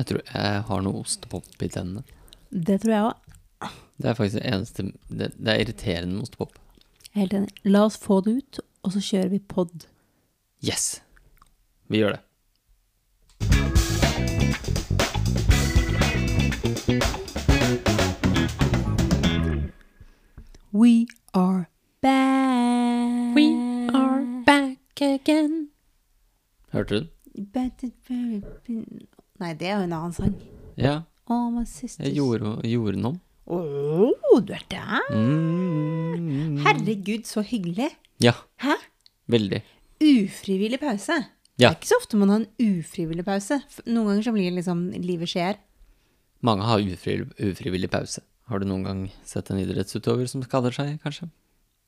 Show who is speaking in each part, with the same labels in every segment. Speaker 1: Jeg tror jeg har noe ostepop i tennene.
Speaker 2: Det tror jeg òg.
Speaker 1: Det er faktisk det eneste Det, det er irriterende med ostepop.
Speaker 2: Helt enig. La oss få det ut, og så kjører vi pod.
Speaker 1: Yes! Vi gjør det.
Speaker 2: We are back.
Speaker 3: back again.
Speaker 1: Hørte du den?
Speaker 2: But it very been- Nei, det er jo en annen sang.
Speaker 1: Ja,
Speaker 2: Oh, my sisters.
Speaker 1: jeg gjorde, gjorde den om.
Speaker 2: Åh, du er der.
Speaker 1: Mm.
Speaker 2: Herregud, så hyggelig.
Speaker 1: Ja,
Speaker 2: Hæ?
Speaker 1: veldig.
Speaker 2: Ufrivillig pause.
Speaker 1: Ja.
Speaker 2: Det er ikke så ofte man har en ufrivillig pause. F- Noen ganger så blir det liksom livet skjer.
Speaker 1: Mange har ufrivillig, ufrivillig pause. Har du noen gang sett en idrettsutøver som skader seg, kanskje?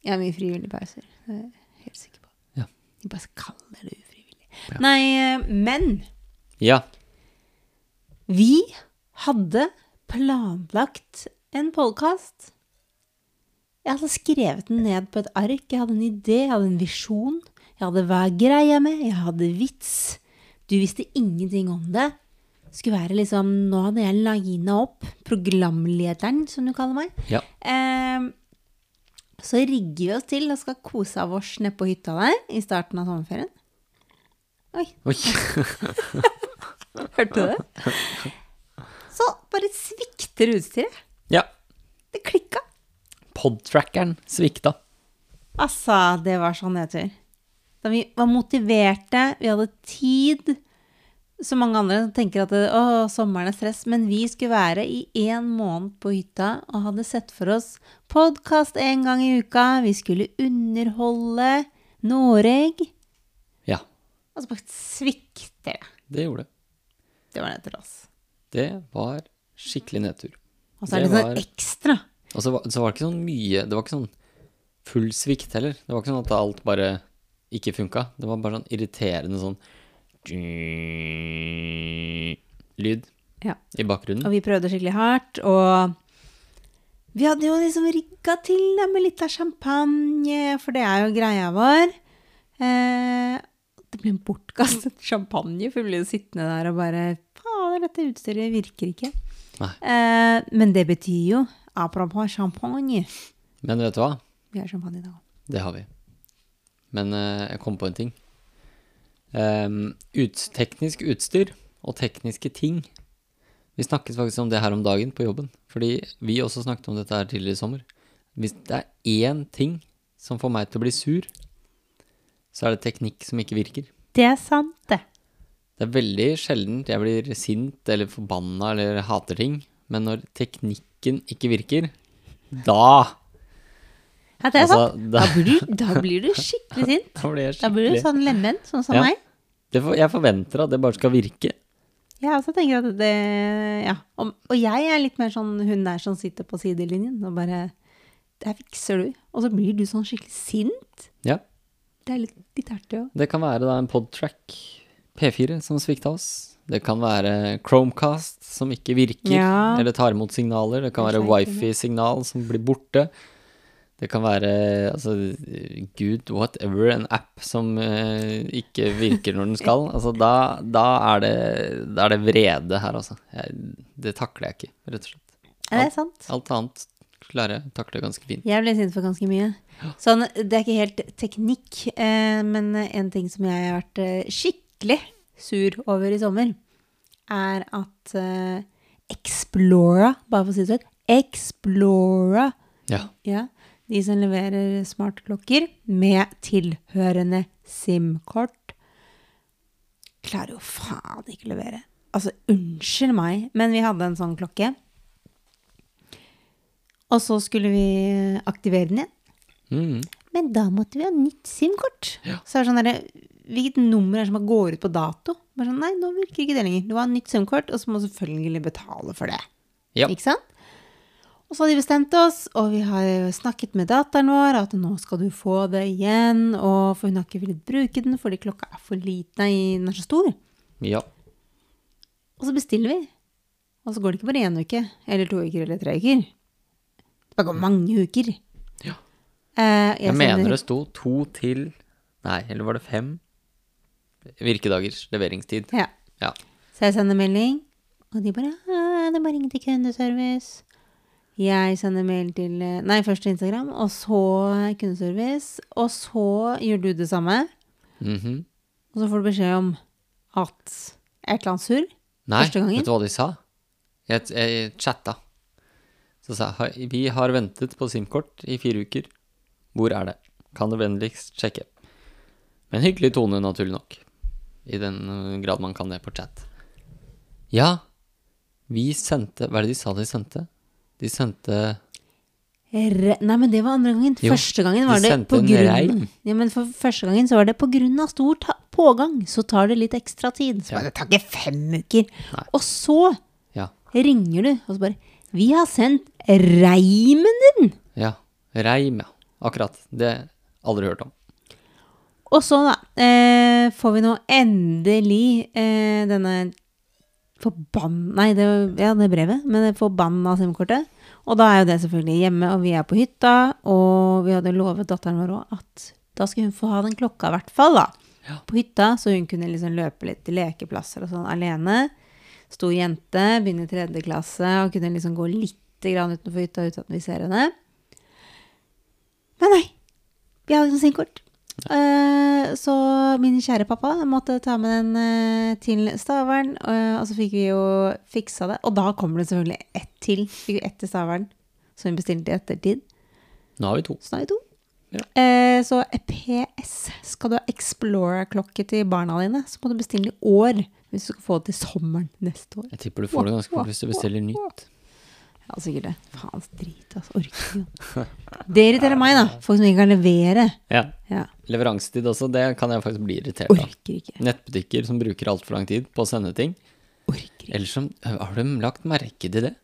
Speaker 2: Jeg har mye frivillige pauser. Det er jeg helt sikker på.
Speaker 1: Ja.
Speaker 2: De bare kaller det ufrivillig. Nei, eh, men
Speaker 1: Ja.
Speaker 2: vi hadde planlagt en podkast. Jeg hadde skrevet den ned på et ark. Jeg hadde en idé, jeg hadde en visjon. Jeg hadde hva er greia med, jeg hadde vits. Du visste ingenting om det. Skulle være liksom, Nå hadde jeg lina opp programlederen, som du kaller meg.
Speaker 1: Ja.
Speaker 2: Ehm, så rigger vi oss til og skal kose av oss nede på hytta der i starten av sommerferien. Oi,
Speaker 1: Oi.
Speaker 2: hørte du det? Så bare svikter utstyret.
Speaker 1: Ja.
Speaker 2: Det klikka.
Speaker 1: Podtrackeren svikta.
Speaker 2: Altså, det var sånn nedtur. Da vi var motiverte, vi hadde tid. Så mange andre tenker at det- å, sommeren er stress, men vi skulle være i én måned på hytta og hadde sett for oss podkast én gang i uka, vi skulle underholde Noreg.
Speaker 1: Ja,
Speaker 2: Og så bare svikter det.
Speaker 1: det gjorde det.
Speaker 2: Det var nedtur, altså.
Speaker 1: Det var skikkelig nedtur.
Speaker 2: Og så er
Speaker 1: Det
Speaker 2: det sånn
Speaker 1: var-
Speaker 2: ekstra.
Speaker 1: Og så var, så var det ikke sånn mye Det var ikke sånn full svikt heller. Det var ikke sånn at alt bare ikke funka. Det var bare sånn irriterende sånn Lyd
Speaker 2: Ja.
Speaker 1: i bakgrunnen.
Speaker 2: Og vi prøvde skikkelig hardt, og vi hadde jo liksom rigga til det med litt av champagne, for det er jo greia vår. Eh, det ble en bortkastet champagne, for vi ble jo sittende der og bare Fader, dette utstyret virker ikke.
Speaker 1: Nei.
Speaker 2: Eh, men det betyr jo Apropos champagne.
Speaker 1: Men vet du hva?
Speaker 2: Vi har champagne i dag òg.
Speaker 1: Det har vi. Men eh, jeg kom på en ting. Ehm, ut, teknisk utstyr og tekniske ting. Vi snakket faktisk om det her om dagen på jobben. Fordi vi også snakket om dette her tidligere i sommer. Hvis det er én ting som får meg til å bli sur, så er det teknikk som ikke virker.
Speaker 2: Det er sant, det.
Speaker 1: Det er veldig sjeldent jeg blir sint eller forbanna eller hater ting. Men når teknikken ikke virker, da,
Speaker 2: Ja, det er
Speaker 1: Altså,
Speaker 2: sant.
Speaker 1: da-
Speaker 2: Da blir, du, da blir du skikkelig sint.
Speaker 1: da blir jeg
Speaker 2: Da blir du
Speaker 1: skikkelig
Speaker 2: sånn lemen, sånn som
Speaker 1: Ja.
Speaker 2: meg.
Speaker 1: det for, Jeg forventer at det bare skal virke.
Speaker 2: Jeg også tenker at det Ja. Og, og jeg er litt mer sånn hun der som sitter på sidelinjen og bare Det her fikser du. Og så blir du sånn skikkelig sint.
Speaker 1: Ja.
Speaker 2: Det er litt, litt artig òg.
Speaker 1: Det kan være da en podtrack P4 som svikta oss. Det kan være Chromecast som ikke virker
Speaker 2: Ja.
Speaker 1: eller tar imot signaler. Det kan være
Speaker 2: Det er sleit med.
Speaker 1: wifi-signal som blir borte. Det kan være altså, gud, whatever, en app som eh, ikke virker når den skal. Altså, da, da, er det, da er det vrede her, altså. Jeg, det takler jeg ikke, rett og slett.
Speaker 2: Er det sant?
Speaker 1: Alt annet klarer jeg å takle ganske fint.
Speaker 2: Jeg ble sint for ganske mye. Sånn, det er ikke helt teknikk, eh, men en ting som jeg har vært eh, skikkelig sur over i sommer, er at eh, Explora, bare for å si det sånn, Explora
Speaker 1: Ja.
Speaker 2: Ja, de som leverer smartklokker med tilhørende SIM-kort, klarer jo faen ikke å levere. Altså, unnskyld meg, men vi hadde en sånn klokke. Og så skulle vi aktivere den igjen.
Speaker 1: Mm.
Speaker 2: Men da måtte vi ha nytt SIM-kort. Så er det sånn derre Hvilket nummer er det som bare går ut på dato? Bare sånn, Nei, nå virker ikke det lenger. Du har nytt SIM-kort, og så må du selvfølgelig betale for det.
Speaker 1: Ja.
Speaker 2: Ikke sant? Og så har de bestemt oss, og vi har jo snakket med datteren vår at nå skal du få det igjen, og for hun har ikke villet bruke den fordi klokka er for liten, nei, den er så stor.
Speaker 1: ja.
Speaker 2: Og så bestiller vi. Og så går det ikke bare én uke, eller to uker, eller tre uker. Det bare går mange uker.
Speaker 1: Ja.
Speaker 2: Eh, jeg
Speaker 1: Jeg mener
Speaker 2: sender-
Speaker 1: det sto to til Nei, eller var det fem? Virkedagers leveringstid.
Speaker 2: Ja.
Speaker 1: Ja.
Speaker 2: Så jeg sender melding. Og de bare «Ah, 'Det er bare ingenting kundeservice'. Jeg sender mail til eh, Nei, først til Instagram, og så kundeservice. Og så gjør du det samme,
Speaker 1: Mhm.
Speaker 2: og så får du beskjed om at et eller annet surr.
Speaker 1: Nei,
Speaker 2: Første gangen?
Speaker 1: vet du hva de sa? Jeg, jeg chatta. Så sa jeg, «Hei, vi har ventet på SIM-kort i fire uker. Hvor er det? Kan du vennligst sjekke? Med en hyggelig tone, naturlig nok. I den øh, grad man kan det på chat. Ja, vi sendte Hva er det de sa de sendte? De sendte
Speaker 2: Re Nei, men det var andre gangen.
Speaker 1: Jo,
Speaker 2: første gangen
Speaker 1: de
Speaker 2: var det
Speaker 1: sendte
Speaker 2: på
Speaker 1: en
Speaker 2: grunn
Speaker 1: regn.
Speaker 2: ja, men for Første gangen så var det på grunn av stor ta pågang, så tar det litt ekstra tid. Så
Speaker 1: Ja.
Speaker 2: bare, det tar ikke fem uker.
Speaker 1: Nei.
Speaker 2: Og så
Speaker 1: Ja.
Speaker 2: ringer du, og så bare Vi har sendt reimen din!
Speaker 1: ja Reim, ja. Akkurat. Det aldri hørt om.
Speaker 2: Og så, da, eh, får vi nå endelig eh, denne forbanna Nei, det, ja, det brevet, men det forbanna SIM-kortet. Og da er jo det selvfølgelig hjemme, og vi er på hytta, og vi hadde lovet datteren vår òg at da skulle hun få ha den klokka, i hvert fall, da.
Speaker 1: Ja.
Speaker 2: På hytta, så hun kunne liksom løpe litt til lekeplasser og sånn alene. Stor jente, begynner i tredje klasse, og kunne liksom gå lite grann utenfor hytta uten at vi ser henne. Men nei, vi har ikke noe SIM-kort. Eh, Så min kjære pappa måtte ta med den eh, til Stavern, eh, og så fikk vi jo fiksa det. Og da kommer det selvfølgelig ett til. Fikk vi ett til Stavern, som vi bestilte i ettertid.
Speaker 1: Nå har vi to.
Speaker 2: Så nå har vi to.
Speaker 1: Ja.
Speaker 2: Eh, Så PS, skal du ha Explorer-klokke til barna dine, så må du bestille i år hvis du skal få det til sommeren neste år.
Speaker 1: Jeg tipper du får det ganske fort hvis du bestiller nytt.
Speaker 2: Ja, sikkert det. Faens drit, altså. Orker ikke. jo. Det irriterer meg, da. Folk som ikke kan levere.
Speaker 1: Ja.
Speaker 2: Ja,
Speaker 1: Leveransetid også, det kan jeg faktisk bli irritert av.
Speaker 2: orker ikke.
Speaker 1: Nettbutikker som bruker altfor lang tid på å sende ting.
Speaker 2: Orker ikke.
Speaker 1: Eller som Har de lagt merke til det?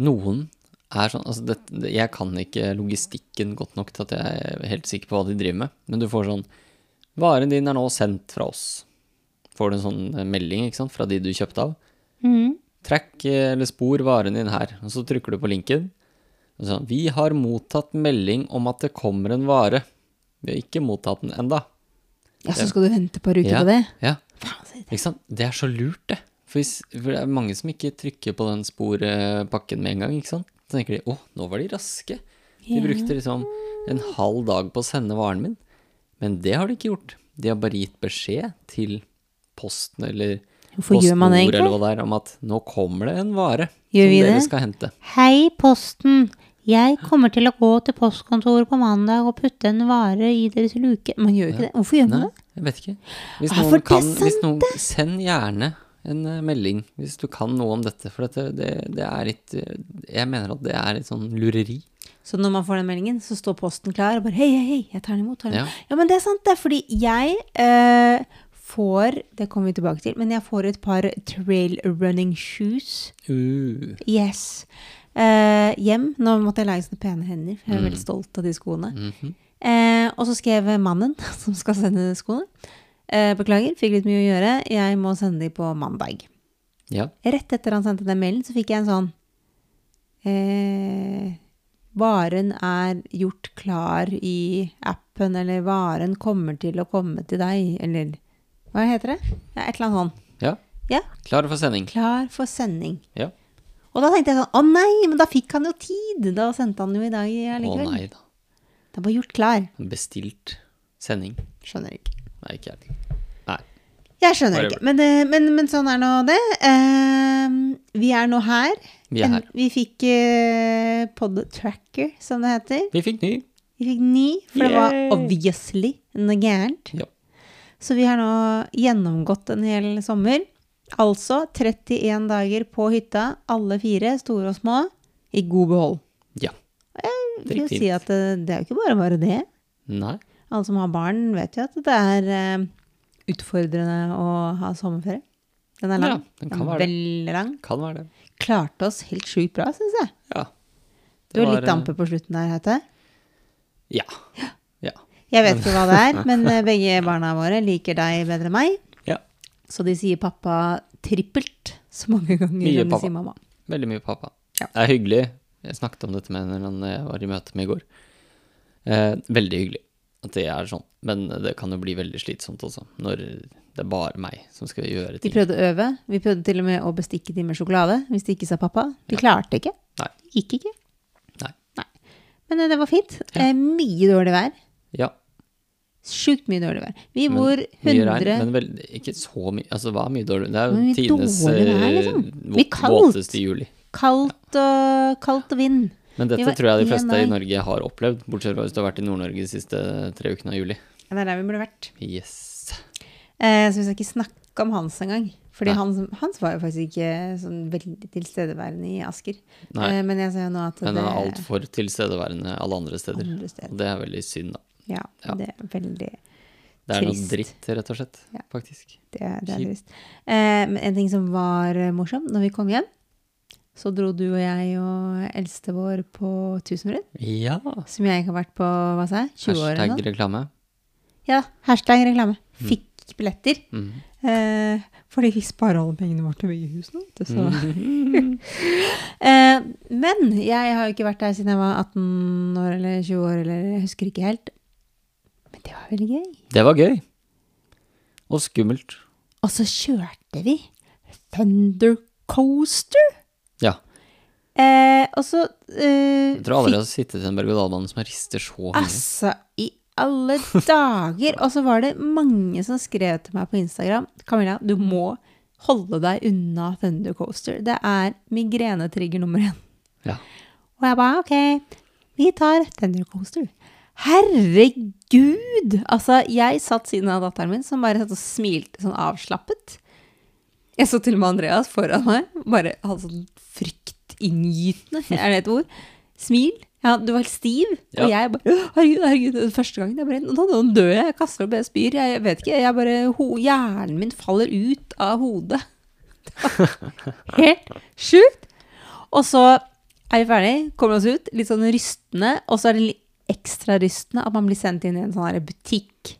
Speaker 1: Noen er sånn Altså, det, det, jeg kan ikke logistikken godt nok til at jeg er helt sikker på hva de driver med, men du får sånn Varen din er nå sendt fra oss. Får du en sånn eh, melding ikke sant, fra de du kjøpte av.
Speaker 2: Mhm.
Speaker 1: Trekk eh, eller spor varen din her. Og så trykker du på linken. Og sånn, Vi har mottatt melding om at det kommer en vare. Vi har ikke mottatt den enda.
Speaker 2: Ja, så skal du vente et par uker på det?
Speaker 1: Ja.
Speaker 2: Faen, så irriterende.
Speaker 1: Ikke sant? Det er så lurt, det. For, hvis, for det er mange som ikke trykker på den sporpakken med en gang. ikke sant? Så tenker de å, nå var de raske. De
Speaker 2: Ja.
Speaker 1: brukte liksom en halv dag på å sende varen min. Men det har de ikke gjort. De har bare gitt beskjed til Posten eller
Speaker 2: Hvorfor gjør man
Speaker 1: PostNord eller
Speaker 2: det egentlig?
Speaker 1: hva det er, om at nå kommer det en vare
Speaker 2: Gjør
Speaker 1: som
Speaker 2: vi
Speaker 1: dere
Speaker 2: det?
Speaker 1: skal hente.
Speaker 2: Hei, Posten. Jeg kommer til å gå til postkontoret på mandag og putte en vare i deres luke. Man gjør jo ikke det. Hvorfor gjør man
Speaker 1: Nei,
Speaker 2: det?
Speaker 1: jeg vet ikke. Hvis
Speaker 2: Ah, for
Speaker 1: noen
Speaker 2: det
Speaker 1: kan, hvis
Speaker 2: sendte!
Speaker 1: noen, send gjerne en eh, melding hvis du kan noe om dette, for dette, det, det er litt eh, Jeg mener at det er litt sånn lureri.
Speaker 2: Så når man får den meldingen, så står Posten klar og bare hei, hei, hei, jeg tar den imot. Tar den.
Speaker 1: Ja.
Speaker 2: imot. ja, men det er sant, det. er Fordi jeg eh, får, det kommer vi tilbake til, men jeg får et par trail running shoes.
Speaker 1: Uh,
Speaker 2: Yes. Eh, hjem. Nå måtte jeg lage sånne pene hender, for jeg er veldig
Speaker 1: Mm.
Speaker 2: stolt av de skoene.
Speaker 1: Mhm.
Speaker 2: Eh, og så skrev mannen som skal sende skoene. Eh, beklager, fikk litt mye å gjøre. Jeg må sende de på mandag.
Speaker 1: ja.
Speaker 2: Rett etter han sendte den mailen, så fikk jeg en sånn eh, Varen er gjort klar i appen, eller varen kommer til å komme til deg, eller hva heter det? Ja, et eller annet sånn.
Speaker 1: ja.
Speaker 2: Ja,
Speaker 1: Klar for sending.
Speaker 2: klar for sending.
Speaker 1: Ja.
Speaker 2: Og da tenkte jeg sånn, å nei, men da fikk han jo tid. Da sendte han jo i dag
Speaker 1: Å
Speaker 2: allikevel.
Speaker 1: nei da.
Speaker 2: Det var gjort klar.
Speaker 1: Bestilt sending.
Speaker 2: Skjønner ikke.
Speaker 1: Nei, ikke jeg. Nei.
Speaker 2: Jeg skjønner
Speaker 1: Whatever.
Speaker 2: ikke, men, det- men, men sånn er nå det. Eh, vi er nå her.
Speaker 1: Vi er
Speaker 2: En-
Speaker 1: her.
Speaker 2: Vi fikk uh, podtracker, som det heter.
Speaker 1: Vi fikk ny.
Speaker 2: Vi fikk ni, for det var
Speaker 1: Yay!
Speaker 2: obviously noe gærent.
Speaker 1: Ja.
Speaker 2: Så vi har nå gjennomgått en hel sommer. Altså 31 dager på hytta, alle fire, store og små, i god behold.
Speaker 1: Ja.
Speaker 2: Jeg
Speaker 1: Det
Speaker 2: vil
Speaker 1: gikk
Speaker 2: jo si
Speaker 1: fint.
Speaker 2: at det, det er jo ikke bare bare det.
Speaker 1: Nei.
Speaker 2: Alle som har barn, vet jo at det er eh, utfordrende å ha sommerferie. Den er lang.
Speaker 1: Ja, den kan være det.
Speaker 2: Veldig lang.
Speaker 1: Kan være det.
Speaker 2: Klarte oss helt sjukt bra, syns jeg.
Speaker 1: Ja.
Speaker 2: Du var litt
Speaker 1: eh,
Speaker 2: dampe på slutten der, Hete.
Speaker 1: Ja. Ja.
Speaker 2: Jeg vet ikke hva det er, men eh, begge barna våre liker deg bedre enn meg.
Speaker 1: ja.
Speaker 2: Så de sier pappa trippelt så mange ganger
Speaker 1: Mye
Speaker 2: som de
Speaker 1: pappa.
Speaker 2: sier mamma.
Speaker 1: Veldig mye pappa.
Speaker 2: Ja.
Speaker 1: Det er hyggelig. Jeg snakket om dette med henne når jeg var i møte med i går. Eh, veldig hyggelig at det er sånn, men det kan jo bli veldig slitsomt også, når Det er bare meg som skal gjøre
Speaker 2: De
Speaker 1: ting.
Speaker 2: prøvde å øve. Vi prøvde til og med å bestikke de med sjokolade, hvis de ikke sa pappa. De klarte ikke.
Speaker 1: Nei.
Speaker 2: Det gikk ikke.
Speaker 1: Nei.
Speaker 2: Men eh, det var fint. Eh, Mye dårlig vær.
Speaker 1: Ja,
Speaker 2: Sjukt mye dårlig vær. Vi
Speaker 1: Men
Speaker 2: bor
Speaker 1: mye regn,
Speaker 2: 100
Speaker 1: men vel, ikke så mye. Altså, det var mye dårlig. Det er jo
Speaker 2: Men mye
Speaker 1: tidenes
Speaker 2: dårlig vær,
Speaker 1: eh,
Speaker 2: liksom.
Speaker 1: vå-
Speaker 2: Mye kaldt.
Speaker 1: våteste juli.
Speaker 2: kaldt og, kaldt og vind.
Speaker 1: Men
Speaker 2: Vi
Speaker 1: dette
Speaker 2: var
Speaker 1: tror jeg de
Speaker 2: en
Speaker 1: fleste i
Speaker 2: vei.
Speaker 1: Norge har opplevd, bortsett fra hvis du har vært i Nord-Norge de siste tre ukene av juli.
Speaker 2: Ja, Det er der vi burde vært.
Speaker 1: Yes.
Speaker 2: Eh, så vi skal ikke snakke om Hans engang. Fordi
Speaker 1: Nei.
Speaker 2: Hans, Hans var jo faktisk ikke sånn veldig tilstedeværende i Asker.
Speaker 1: Nei.
Speaker 2: Eh, men jeg ser jo nå at
Speaker 1: Men
Speaker 2: det
Speaker 1: han er altfor tilstedeværende alle andre steder.
Speaker 2: andre steder.
Speaker 1: Og det er veldig synd, da.
Speaker 2: Ja,
Speaker 1: Ja.
Speaker 2: det er veldig
Speaker 1: Det er noe
Speaker 2: Trist.
Speaker 1: dritt, rett og slett.
Speaker 2: Ja.
Speaker 1: Faktisk.
Speaker 2: Det, det er
Speaker 1: Kjipt.
Speaker 2: trist. Eh, men en ting som var eh, morsom når vi kom hjem, så dro du og jeg og eldste vår på Tusenfryd,
Speaker 1: Ja.
Speaker 2: som jeg ikke har vært på hva sa jeg, 20 år eller
Speaker 1: Hashtag
Speaker 2: noe.
Speaker 1: reklame.
Speaker 2: Ja, hashtag reklame.
Speaker 1: Mm.
Speaker 2: Fikk billetter.
Speaker 1: Mhm.
Speaker 2: Eh, fordi vi sparer alle pengene våre til å bygge hus nå. vet du, Så.
Speaker 1: Mm.
Speaker 2: eh, men jeg har jo ikke vært der siden jeg var 18 år eller 20 år, eller jeg husker ikke helt. Men det var veldig gøy.
Speaker 1: Det var gøy. Og skummelt.
Speaker 2: Og så kjørte vi Thunder Coaster.
Speaker 1: Ja.
Speaker 2: Eh, og så eh,
Speaker 1: Jeg tror aldri jeg har sittet i en berg-og-dal-bane som rister så mye.
Speaker 2: Altså, i alle dager! Og så var det mange som skrev til meg på Instagram Camilla, du må holde deg unna Thunder Coaster. Det er migrenetrigger nummer én.
Speaker 1: Ja.
Speaker 2: Og jeg bare OK, vi tar Thunder Coaster. Herregud! Altså, jeg satt siden av datteren min, som bare satt og smilte sånn avslappet. Jeg så til og med Andreas foran meg, bare hadde sånn fryktinngytende, er det et ord? Smil. Ja, du var helt stiv, og jeg bare «Å, Herregud, herregud. det er Første gangen. Jeg bare Nå, nå dør jeg. Jeg kaster opp, jeg spyr. Jeg vet ikke. Jeg bare ho, Hjernen min faller ut av hodet. Det var Helt sjukt. Og så er vi ferdig, kommer oss ut, litt sånn rystende. Og så er det litt ekstra rystende at man blir sendt inn i en sånn her butikk.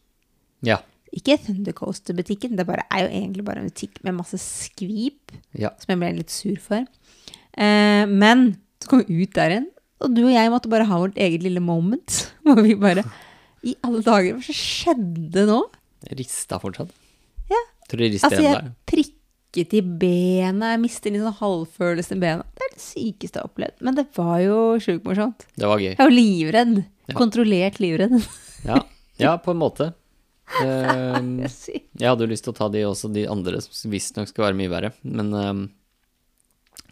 Speaker 1: Ja.
Speaker 2: Ikke Thundercoaster-butikken, det bare, er jo egentlig bare en butikk med masse skvip,
Speaker 1: Ja.
Speaker 2: som jeg ble litt sur for. Eh, men så kom vi ut der igjen, og du og jeg måtte bare ha vårt eget lille moment. Hvor vi bare I alle dager, hva skjedde nå?
Speaker 1: Rista fortsatt.
Speaker 2: Ja.
Speaker 1: Tror de rister
Speaker 2: Altså, jeg
Speaker 1: ennå.
Speaker 2: prikket i bena, jeg mister litt sånn halvfølelse i bena. Det er det sykeste jeg har opplevd. Men det var jo sjukt morsomt.
Speaker 1: Det var gøy.
Speaker 2: Jeg var livredd.
Speaker 1: Ja.
Speaker 2: Kontrollert livredd.
Speaker 1: Ja, ja på en måte. Ehm,
Speaker 2: Det er sykt.
Speaker 1: jeg hadde jo lyst til å ta de også, de andre som visstnok skal være mye verre. Men ehm,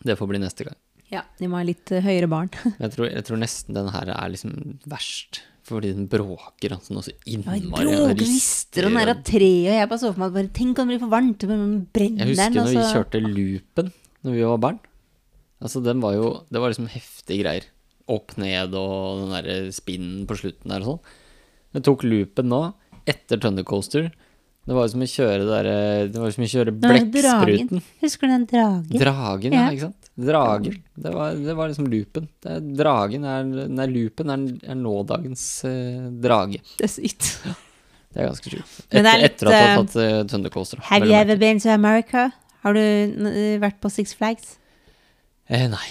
Speaker 1: det får bli neste gang.
Speaker 2: Ja, de må ha litt eh, høyere barn.
Speaker 1: Jeg tror, jeg tror nesten den her er liksom verst. Fordi den bråker altså noe så
Speaker 2: Ja,
Speaker 1: innmari. og den
Speaker 2: Bråker, rister og den er av tre, og jeg bare så for meg at bare, tenk om det blir for varmt, og den brenner
Speaker 1: Jeg husker
Speaker 2: den, altså. og
Speaker 1: når vi
Speaker 2: så-
Speaker 1: kjørte loopen når vi var barn. Altså, den var jo Det var liksom heftige greier. Opp ned og den derre spinnen på slutten der og sånn. Jeg tok loopen nå, etter Thundercoaster. Det var jo som å kjøre det derre Det var jo som å kjøre
Speaker 2: Den der dragen.
Speaker 1: blekkspruten.
Speaker 2: Husker du den dragen?
Speaker 1: Dragen, ja,
Speaker 2: Ja.
Speaker 1: ikke sant? Dragen. Det var, det var liksom loopen. Det er, dragen er Nei, loopen er, er nådagens eh, drage.
Speaker 2: det er sykt.
Speaker 1: Det er ganske sjukt.
Speaker 2: Men
Speaker 1: Etter,
Speaker 2: det er litt,
Speaker 1: etter at du har tatt uh, Thundercoaster. da,
Speaker 2: Have
Speaker 1: vel
Speaker 2: you
Speaker 1: å
Speaker 2: ever
Speaker 1: merke.
Speaker 2: been to America? Har du eh, vært på Six Flags?
Speaker 1: eh, Nei.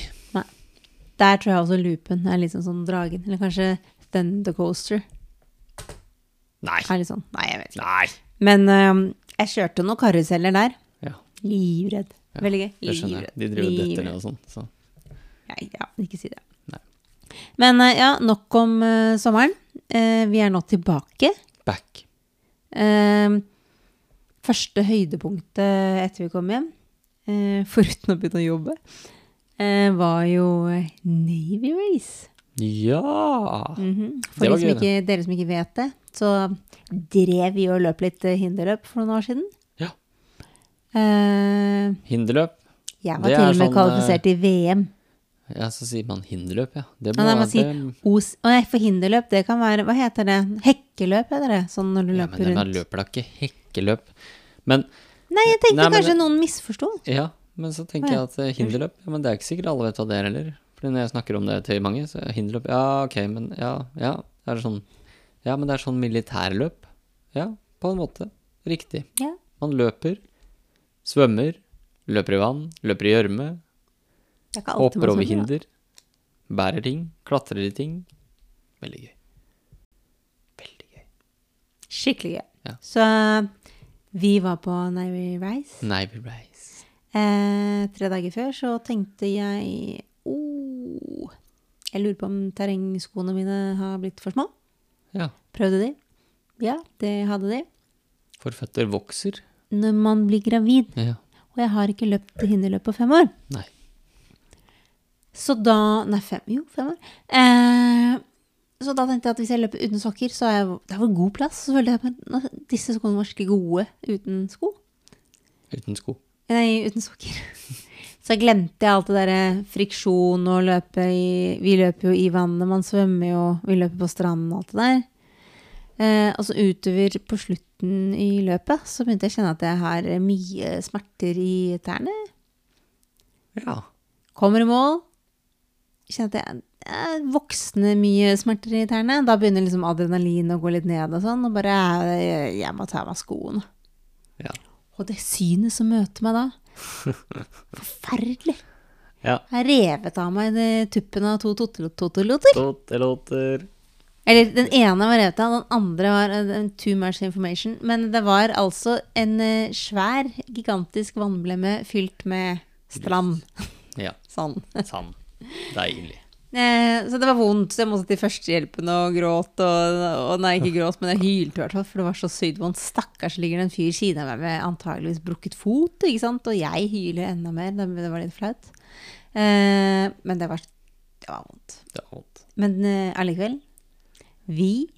Speaker 2: Der tror jeg også loopen er litt sånn som dragen, eller kanskje Thunder Coaster.
Speaker 1: Nei.
Speaker 2: Er litt sånn. Nei, jeg vet ikke.
Speaker 1: Nei.
Speaker 2: Men eh, jeg kjørte noen karuseller der.
Speaker 1: Ja.
Speaker 2: Livredd.
Speaker 1: Ja,
Speaker 2: Veldig gøy.
Speaker 1: Det skjønner jeg. De driver og detter ned og sånn. Så.
Speaker 2: Nei, ja, ikke si det.
Speaker 1: Nei.
Speaker 2: Men eh, ja, nok om eh, sommeren. Eh, vi er nå tilbake.
Speaker 1: Back.
Speaker 2: Eh, første høydepunktet etter vi kom hjem, eh, foruten å begynne å jobbe, eh, var jo Navy Race.
Speaker 1: Ja!
Speaker 2: Mhm. For
Speaker 1: Det var
Speaker 2: de som
Speaker 1: gøy,
Speaker 2: ikke, dere som ikke vet det, så drev vi og løp litt eh, hinderløp for noen år siden.
Speaker 1: Ja.
Speaker 2: Eh,
Speaker 1: Hinderløp.
Speaker 2: jeg var
Speaker 1: Det
Speaker 2: til
Speaker 1: er
Speaker 2: og med
Speaker 1: sånn, eh,
Speaker 2: kvalifisert i VM.
Speaker 1: Ja, så sier man hinderløp, ja. Det
Speaker 2: Ja,
Speaker 1: må
Speaker 2: nei, man
Speaker 1: være det.
Speaker 2: sier Os Å nei, for hinderløp, det kan være Hva heter det? Hekkeløp heter det. Sånn når du
Speaker 1: Ja, men
Speaker 2: løper
Speaker 1: den
Speaker 2: rundt.
Speaker 1: løper da ikke hekkeløp. Men
Speaker 2: Nei, jeg tenkte
Speaker 1: Nei, men
Speaker 2: kanskje noen misforsto.
Speaker 1: ja, men så tenker jeg at eh, hinderløp ja, Men det er ikke sikkert alle vet hva det er heller. Fordi når jeg snakker om det til mange, så er hinderløp Ja, ok, men ja, ja. Det er sånn Ja, men det er sånn militærløp. Ja, på en måte. Riktig.
Speaker 2: Ja.
Speaker 1: Man løper, svømmer, løper i vann, løper i gjørme,
Speaker 2: Det er ikke alltid man
Speaker 1: Hopper over
Speaker 2: svømmer, da.
Speaker 1: hinder. Bærer ting. Klatrer i ting. Veldig gøy. Veldig gøy.
Speaker 2: Skikkelig gøy.
Speaker 1: Ja.
Speaker 2: Så Vi var på Navy Rise.
Speaker 1: Navy Race.
Speaker 2: Eh, tre dager før så tenkte jeg oh, Jeg lurer på om terrengskoene mine har blitt for små.
Speaker 1: Ja.
Speaker 2: Prøvde de? Ja, det hadde de.
Speaker 1: For føtter vokser.
Speaker 2: Når man blir gravid,
Speaker 1: Ja.
Speaker 2: og jeg har ikke løpt hinderløp på fem år
Speaker 1: Nei.
Speaker 2: Så da Nei, fem, jo, fem år. Eh, så da tenkte jeg at hvis jeg løper uten sokker, så er jeg, det er vel god plass. Så følte jeg at nå- disse skoene var skikkelig gode uten sko.
Speaker 1: Uten sko.
Speaker 2: Nei, uten sokker. Så glemte jeg alt det derre friksjon og løpe i Vi løper jo i vannet, man svømmer jo, vi løper på stranden og alt det der. Eh, og så utover på slutten i løpet så begynte jeg å kjenne at jeg har mye smerter i tærne.
Speaker 1: Ja.
Speaker 2: Kommer i mål, kjenner at jeg er voksne mye smerter i tærne. Da begynner liksom adrenalin å gå litt ned og sånn, og bare eh, Jeg må ta av meg skoene.
Speaker 1: Ja.
Speaker 2: Og det synet som møter meg da Forferdelig.
Speaker 1: Ja.
Speaker 2: Jeg har revet av meg de tuppen av to toteloter.
Speaker 1: Låter.
Speaker 2: Eller den ene var revet av, den andre var eh, en too much information. Men det var altså en eh, svær, gigantisk vannblemme fylt med strand.
Speaker 1: Ja.
Speaker 2: Sånn.
Speaker 1: Sand. Deilig.
Speaker 2: Eh, Så det var vondt, så jeg måtte til førstehjelpen og gråt. Og, og nei, ikke gråt, men jeg hylte i hvert fall, for det var så sykt vondt. Stakkars ligger det en fyr i siden av meg med antageligvis brukket fot, ikke sant? og jeg hyler enda mer. Det det var litt flaut. Eh, Men det var, det var vondt.
Speaker 1: Det var vondt.
Speaker 2: Men eh, allikevel Vi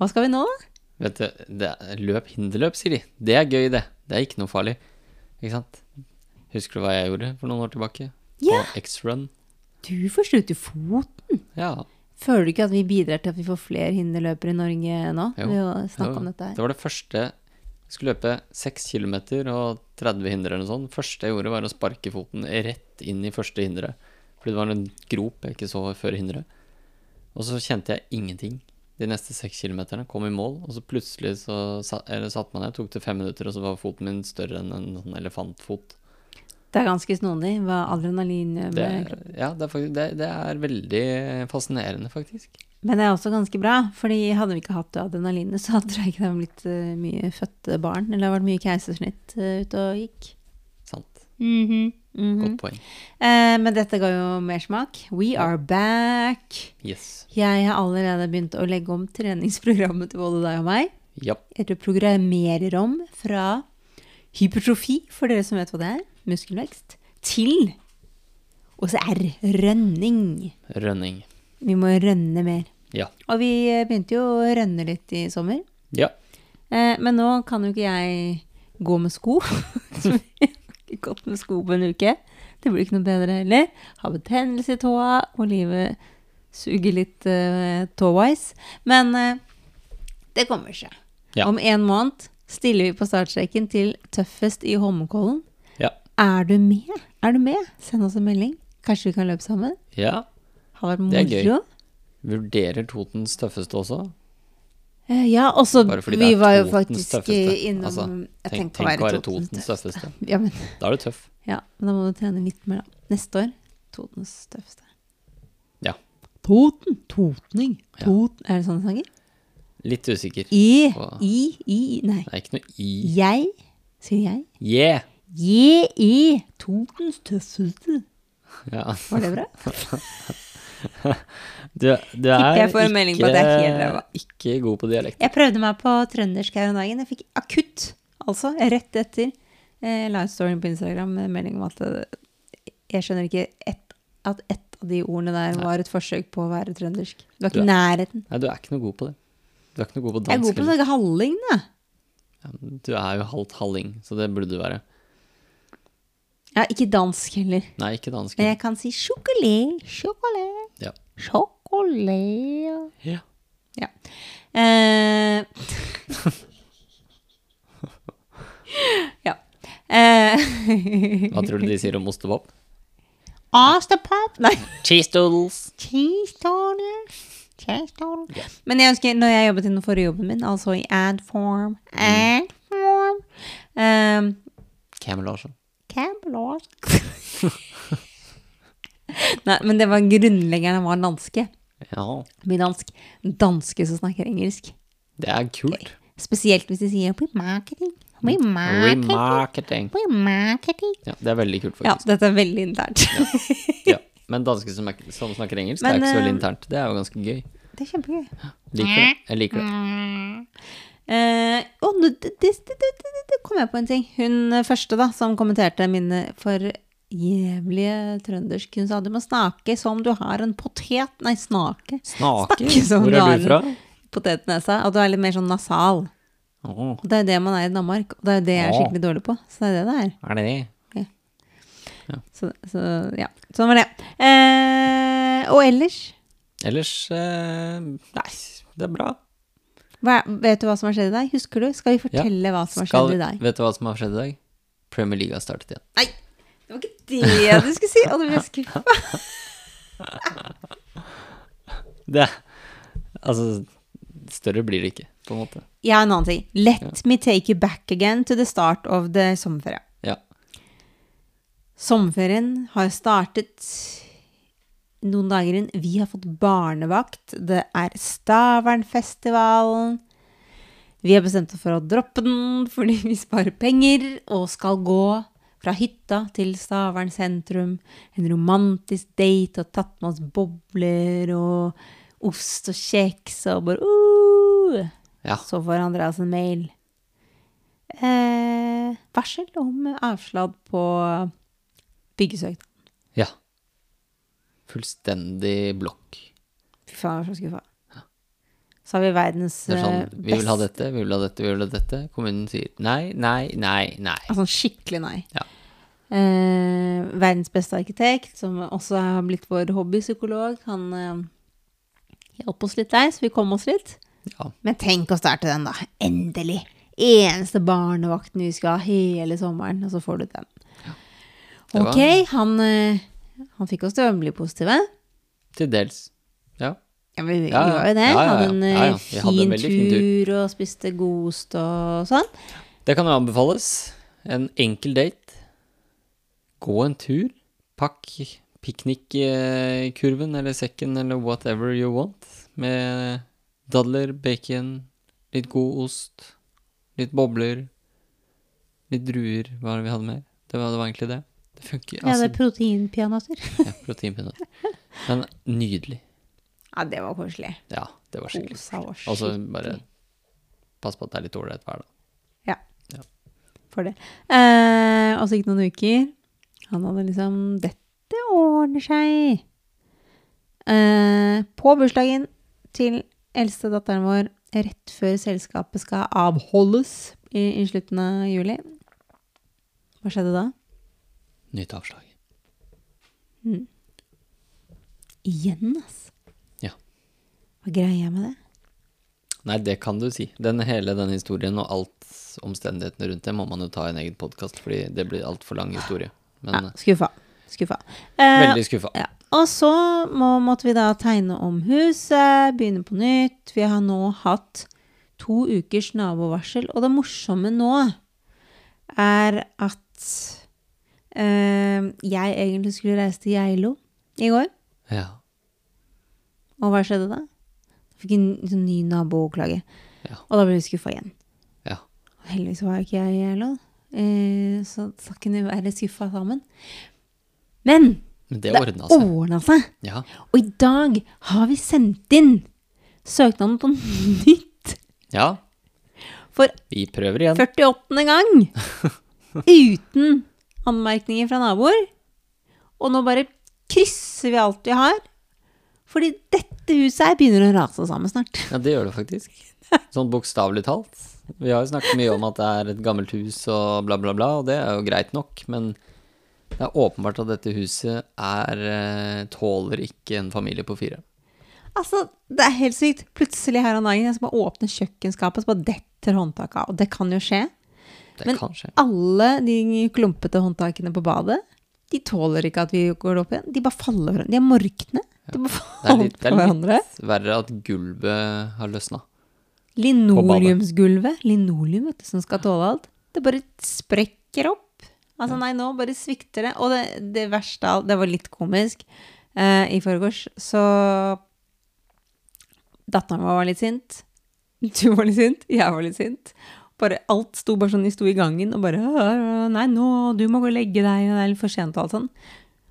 Speaker 2: Hva skal vi nå?
Speaker 1: Vet du, det er løp hinderløp, sier de. Det er gøy, det. Det er ikke noe farlig. Ikke sant? Husker du hva jeg gjorde for noen år tilbake?
Speaker 2: Ja.
Speaker 1: På X-Run.
Speaker 2: Du får slutte foten.
Speaker 1: Ja.
Speaker 2: Føler du ikke at vi bidrar til at vi får flere hinderløpere i Norge nå?
Speaker 1: Jo.
Speaker 2: Ved å snakke
Speaker 1: Jo,
Speaker 2: om dette her.
Speaker 1: Det var det første Jeg skulle løpe 6 km og 30 hindre eller noe sånt. første jeg gjorde, var å sparke foten rett inn i første hinderet. Fordi det var en grop jeg ikke så før hinderet. Og så kjente jeg ingenting de neste 6 km. Kom i mål, og så plutselig så satt, eller satt man ned. Tok det fem minutter, og så var foten min større enn en sånn elefantfot.
Speaker 2: Det er ganske snodig hva adrenalin gjør
Speaker 1: Det,
Speaker 2: med
Speaker 1: er- ja, det, er faktisk, det, det er veldig fascinerende, faktisk.
Speaker 2: Men det er også ganske bra, fordi hadde vi ikke hatt det adrenalinet, så hadde det ikke det blitt eh, mye fødte barn, eller det hadde vært mye keisersnitt eh, ute og gikk.
Speaker 1: Sant.
Speaker 2: Mhm, mhm.
Speaker 1: Godt poeng.
Speaker 2: Eh, men dette ga jo mersmak. We are back!
Speaker 1: Yes.
Speaker 2: Jeg har allerede begynt å legge om treningsprogrammet til både deg og meg.
Speaker 1: Ja.
Speaker 2: Jeg programmerer om fra hypertrofi, for dere som vet hva det er, muskelvekst, til Og så R, rønning.
Speaker 1: Rønning.
Speaker 2: Vi må rønne mer.
Speaker 1: Ja.
Speaker 2: Og vi eh, begynte jo å rønne litt i sommer.
Speaker 1: Ja.
Speaker 2: Eh, men nå kan jo ikke jeg gå med sko. Så jeg har ikke gått med sko på en uke. Det blir ikke noe bedre heller. Har betennelse i tåa, og livet suger litt eh, tåwise. Men eh, det kommer seg.
Speaker 1: Ja.
Speaker 2: Om en måned stiller vi på startstreken til Tøffest i Holmenkollen.
Speaker 1: Ja.
Speaker 2: Er du med? Er du med? Send oss en melding. Kanskje vi kan løpe sammen?
Speaker 1: ja.
Speaker 2: Har vært
Speaker 1: Det er gøy.
Speaker 2: moro.
Speaker 1: Vurderer Totens tøffeste også?
Speaker 2: Eh, Ja, og så
Speaker 1: Bare fordi det
Speaker 2: vi
Speaker 1: er
Speaker 2: var jo
Speaker 1: Totens
Speaker 2: faktisk
Speaker 1: tøffeste.
Speaker 2: innom
Speaker 1: Altså,
Speaker 2: jeg
Speaker 1: Tenk,
Speaker 2: tenkte
Speaker 1: tenk å være Totens tøffeste.
Speaker 2: tøffeste. Ja, men
Speaker 1: Da er du tøff.
Speaker 2: Ja, men da må du trene litt mer, da. Neste år. Totens tøffeste.
Speaker 1: Ja.
Speaker 2: Toten! Totning.
Speaker 1: Ja.
Speaker 2: Toten. Er det sånn det sanger?
Speaker 1: Litt usikker.
Speaker 2: I,
Speaker 1: Hva?
Speaker 2: i, i, nei.
Speaker 1: Det er ikke noe i.
Speaker 2: Jeg, sier jeg.
Speaker 1: Yeah!
Speaker 2: Je, i, Totens tøffeste.
Speaker 1: Ja.
Speaker 2: Var det bra?
Speaker 1: Du, du
Speaker 2: Tipper
Speaker 1: er
Speaker 2: jeg får en melding på at jeg er helt
Speaker 1: ikke,
Speaker 2: ræva.
Speaker 1: ikke god på dialekt.
Speaker 2: Jeg prøvde meg på trøndersk her om dagen. Jeg fikk akutt, altså, rett etter eh, livestoryen på Instagram med melding om at eh, jeg skjønner ikke ett- at ett av de ordene der var et forsøk på å være trøndersk. Du var
Speaker 1: Du
Speaker 2: ikke i nærheten.
Speaker 1: Nei, du er ikke noe god på det. Du er ikke noe god på
Speaker 2: Jeg er
Speaker 1: dansk.
Speaker 2: god på sånn- å
Speaker 1: heller.
Speaker 2: snakke halling, da.
Speaker 1: Ja, men Du er jo halvt halling, så det burde du være.
Speaker 2: Ja, ikke dansk heller.
Speaker 1: Nei, ikke dansk.
Speaker 2: Men jeg kan si sjokolade, sjokolade,
Speaker 1: Ja.
Speaker 2: sjokolade.
Speaker 1: Ja.
Speaker 2: Ja. Eh, ja. Eh,
Speaker 1: Hva tror du de sier om ostepop?
Speaker 2: Astapop Nei,
Speaker 1: Cheese doodles.
Speaker 2: cheesetone. Cheesetone.
Speaker 1: Ja.
Speaker 2: Men jeg husker når jeg jobbet i den forrige jobben min, altså i ad form,
Speaker 1: Mm.
Speaker 2: ad form um,
Speaker 1: Cam Larsen.
Speaker 2: Camelot. Nei, men det var grunnleggeren var danske.
Speaker 1: Ja.
Speaker 2: Mye dansk. Danske som snakker engelsk.
Speaker 1: Det er kult.
Speaker 2: Spesielt hvis de sier 'på marketing'. Remarketing.
Speaker 1: Remarketing.
Speaker 2: Remarketing.
Speaker 1: Ja, det er veldig kult,
Speaker 2: Ja,
Speaker 1: faktisk.
Speaker 2: dette er veldig internt.
Speaker 1: Ja. Men dansker som, er, som snakker engelsk, det er
Speaker 2: Men,
Speaker 1: ikke så
Speaker 2: eh,
Speaker 1: veldig internt. Det er jo ganske gøy.
Speaker 2: Det er kjempegøy.
Speaker 1: Liker det. Jeg liker
Speaker 2: Mm.
Speaker 1: det.
Speaker 2: Eh, og nå- det, det, det, det, det, det kom jeg på en ting. Hun eh, første da, som kommenterte mine forjævlige trøndersk, hun sa du må snakke som du har en potet. Nei, snake.
Speaker 1: Snaker.
Speaker 2: Snakke som
Speaker 1: Hvor
Speaker 2: du har
Speaker 1: er
Speaker 2: en
Speaker 1: du fra?
Speaker 2: Potetnesa. Og du er litt mer sånn nasal.
Speaker 1: Åh,
Speaker 2: Og det er jo det man er i Danmark, og det er jo det jeg er
Speaker 1: Ja.
Speaker 2: skikkelig dårlig på. Så det er det det er.
Speaker 1: er det det?
Speaker 2: Så, så ja, sånn var det. Eh, og ellers,
Speaker 1: Ellers eh, Nei, det er bra.
Speaker 2: hva, vet du hva som har skjedd i dag? Husker du? Skal vi fortelle hva som har
Speaker 1: Skal-
Speaker 2: skjedd i dag?
Speaker 1: Vet du hva som har skjedd i dag? Premier League har startet igjen.
Speaker 2: Nei, det var ikke det du skulle si! Og du ble jeg skuffa.
Speaker 1: Det Altså, større blir det ikke, på en måte.
Speaker 2: Jeg har en annen ting. Let me take you back again to the start of the sommerferie.
Speaker 1: Ja.
Speaker 2: Sommerferien har startet noen dager inn. Vi har fått barnevakt. Det er Stavernfestivalen. Vi har bestemt oss for å droppe den fordi vi sparer penger og skal gå fra hytta til Stavern sentrum. En romantisk date og tatt med oss bobler og ost og kjeks og bare uh!
Speaker 1: Ja.
Speaker 2: Så får Andreas en mail. Eh, varsel om avslag på byggesøknad.
Speaker 1: ja. Fullstendig blokk.
Speaker 2: Fy faen, jeg var så skuffa. Så har vi verdens
Speaker 1: Det er sånn,
Speaker 2: eh,
Speaker 1: vi vil ha
Speaker 2: best-
Speaker 1: dette, vi vil ha dette, vi vil ha dette. Kommunen sier nei, nei, nei, nei.
Speaker 2: Altså skikkelig nei.
Speaker 1: Ja.
Speaker 2: Eh, verdens beste arkitekt, som også har blitt vår hobbypsykolog. Han eh, hjalp oss litt der, så vi kom oss litt.
Speaker 1: Ja.
Speaker 2: Men tenk å starte den, da. Endelig. Eneste barnevakten vi skal ha hele sommeren, og så får du den.
Speaker 1: Det var-
Speaker 2: Ok, han, eh, han fikk oss til å bli positive.
Speaker 1: Til dels. Ja.
Speaker 2: Ja, men vi
Speaker 1: Ja, ja.
Speaker 2: gjorde jo det.
Speaker 1: Ja, ja, ja.
Speaker 2: Hadde en eh,
Speaker 1: Ja, ja. Vi hadde en
Speaker 2: fin,
Speaker 1: veldig
Speaker 2: tur,
Speaker 1: fin
Speaker 2: og spiste godost og sånn.
Speaker 1: Det kan jo anbefales. En enkel date. Gå en tur. Pakk piknikkurven eller sekken eller whatever you want med dadler, bacon, litt god ost, litt bobler, litt druer. Hva var det vi hadde med? Det var, det var egentlig det. Det funker.
Speaker 2: Ja, det
Speaker 1: Altså,
Speaker 2: er proteinpeanøtter.
Speaker 1: ja, proteinpeanøtter. Men nydelig.
Speaker 2: Ja, det var koselig.
Speaker 1: Ja, det var skikkelig.
Speaker 2: Osa var
Speaker 1: Og så
Speaker 2: skikkelig
Speaker 1: bare pass på at det er litt ålreit hver dag.
Speaker 2: for det. Eh, og så gikk det noen uker. Han hadde liksom Dette ordner seg. Eh, på bursdagen til eldste datteren vår, rett før selskapet skal avholdes i, i slutten av juli Hva skjedde da?
Speaker 1: Nytt avslag.
Speaker 2: Igjen, ass.
Speaker 1: Ja.
Speaker 2: Hva greier jeg med det?
Speaker 1: Nei, det kan du si. Den, hele den historien og alt omstendighetene rundt det må man jo ta i en egen podkast, fordi det blir altfor lang historie. Men
Speaker 2: Ja, skuffa. Skuffa.
Speaker 1: eh,
Speaker 2: Eh,
Speaker 1: veldig skuffa.
Speaker 2: Ja. Og så må, måtte vi da tegne om huset, begynne på nytt. Vi har nå hatt to ukers nabovarsel, og det morsomme nå er at eh, jeg egentlig skulle reise til Geilo i går.
Speaker 1: Ja.
Speaker 2: Og hva skjedde da? Jeg fikk en sånn ny naboklage.
Speaker 1: Ja.
Speaker 2: Og da ble vi skuffa igjen.
Speaker 1: ja.
Speaker 2: Og Heldigvis var ikke jeg i Geilo, eh, så da kunne vi være skuffa sammen. Men
Speaker 1: Men det
Speaker 2: det
Speaker 1: ordna seg.
Speaker 2: ordna seg.
Speaker 1: Ja.
Speaker 2: Og i dag har vi sendt inn søknaden på nytt
Speaker 1: ja.
Speaker 2: for
Speaker 1: Vi prøver igjen.
Speaker 2: 48. gang. Uten anmerkninger fra naboer. Og nå bare krysser vi alt vi har. Fordi dette huset her begynner å rase sammen snart.
Speaker 1: Ja, det gjør det faktisk. Sånn bokstavelig talt. Vi har jo snakket mye om at det er et gammelt hus og bla, bla, bla, og det er jo greit nok, men det er åpenbart at dette huset er eh, Tåler ikke en familie på fire.
Speaker 2: Altså, Det er helt sykt. Plutselig her om dagen jeg skal bare åpne kjøkkenskapet, så bare detter håndtaket av. Og det kan jo skje.
Speaker 1: Det
Speaker 2: Men-
Speaker 1: kan skje.
Speaker 2: Alle de klumpete håndtakene på badet, de tåler ikke at vi går opp igjen. De bare faller hverandre. De er morkne. De bare
Speaker 1: Det er
Speaker 2: faller
Speaker 1: litt, det
Speaker 2: på
Speaker 1: er
Speaker 2: hverandre.
Speaker 1: litt verre at gulvet har løsna.
Speaker 2: Linoleumsgulvet. Linoleum, vet du, som skal tåle alt. Det bare sprekker opp. Altså, nei, nå bare svikter det. Og det, det verste av alt, det var litt komisk eh, i forgårs, så Datteren vår var litt sint. Du var litt sint. Jeg var litt sint. Bare alt sto bare sånn, de sto i gangen og bare «Åh, Nei, nå, du må gå og legge deg, og det er litt for sent og alt sånn.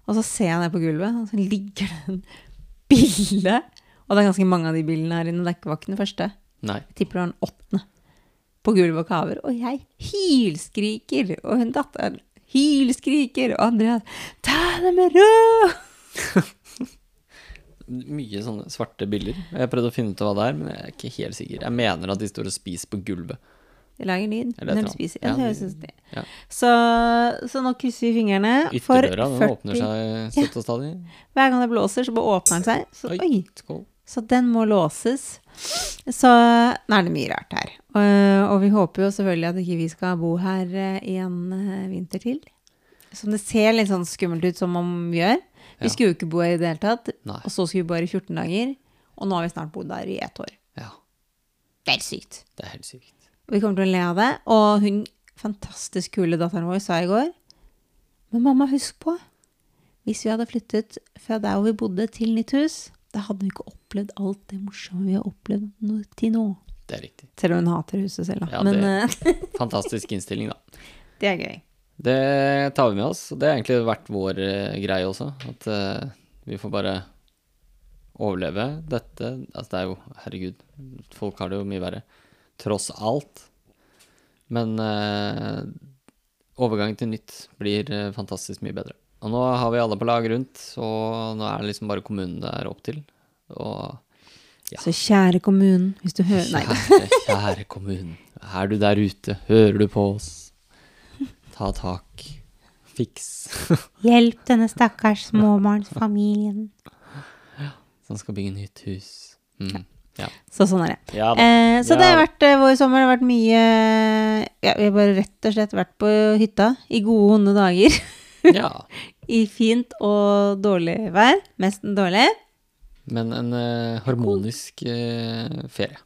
Speaker 2: Og så ser jeg ned på gulvet, og så ligger det en bille. Og det er ganske mange av de billene her inne, det er ikke- var ikke den første.
Speaker 1: Nei.
Speaker 2: Jeg tipper det var den åttende. På gulvet og kaver. Og jeg hylskriker. Og hun datteren hylskriker. Og Andreas ta det med ro!
Speaker 1: Mye sånne svarte biller. Jeg prøvde å finne ut av hva det er, men jeg er ikke helt sikker. Jeg mener at de står og spiser på gulvet.
Speaker 2: De lager lyd
Speaker 1: Eller et
Speaker 2: når
Speaker 1: eller
Speaker 2: de
Speaker 1: annet.
Speaker 2: spiser.
Speaker 1: Ja,
Speaker 2: Ja, det
Speaker 1: de-
Speaker 2: høres ut som det.
Speaker 1: ja.
Speaker 2: Så, så nå krysser vi fingrene. for
Speaker 1: Ytterdøra den
Speaker 2: 40
Speaker 1: åpner seg støtt og stadig.
Speaker 2: Hver gang det blåser, så bare åpner den seg. Så,
Speaker 1: Oi.
Speaker 2: oi,
Speaker 1: Skål.
Speaker 2: så den må låses. Så nå er det mye rart her. Eh, Og, og vi håper jo selvfølgelig at ikke vi skal bo her eh, i en eh, vinter til. Som det ser litt sånn skummelt ut som om vi gjør.
Speaker 1: Ja.
Speaker 2: Vi skulle jo ikke bo her i det hele tatt.
Speaker 1: Nei.
Speaker 2: Og så skulle vi bo her i 14 dager. Og nå har vi snart bodd her i ett år.
Speaker 1: Ja,
Speaker 2: Det er helt sykt.
Speaker 1: det er helt sykt.
Speaker 2: Og Vi kommer til å le av det. Og hun fantastisk kule datteren vår sa i går Men mamma, husk på. Hvis vi hadde flyttet fra der hvor vi bodde, til nytt hus, da hadde vi ikke opplevd alt det morsomme vi har opplevd nå, til nå.
Speaker 1: Det er riktig.
Speaker 2: Selv om hun hater huset selv, da.
Speaker 1: Ja,
Speaker 2: Men eh,
Speaker 1: Fantastisk innstilling, da.
Speaker 2: det er gøy.
Speaker 1: Det tar vi med oss, og det har egentlig vært vår eh, greie også. At eh, vi får bare overleve dette. Altså, det er jo Herregud, folk har det jo mye verre. Tross alt. Men eh, overgangen til nytt blir eh, fantastisk mye bedre. Og nå har vi alle på lag rundt, og nå er det liksom bare kommunen det er opp til. Og Ja.
Speaker 2: Så kjære kommunen, hvis du hører Nei.
Speaker 1: Kjære, kjære kommunen. Er du der ute? Hører du på oss? Ta tak. Fiks.
Speaker 2: Hjelp denne stakkars småbarnsfamilien.
Speaker 1: Som skal bygge nytt hus. Mm. Ja.
Speaker 2: Så sånn er det.
Speaker 1: ja da.
Speaker 2: Eh, så
Speaker 1: Det
Speaker 2: det har
Speaker 1: har-
Speaker 2: vært eh, vår sommer. Det har vært mye ja, Vi har bare rett og slett vært på hytta i gode og onde dager. Eh.
Speaker 1: ja.
Speaker 2: I fint og dårlig vær. Mest dårlig.
Speaker 1: Men en eh, harmonisk eh, ferie.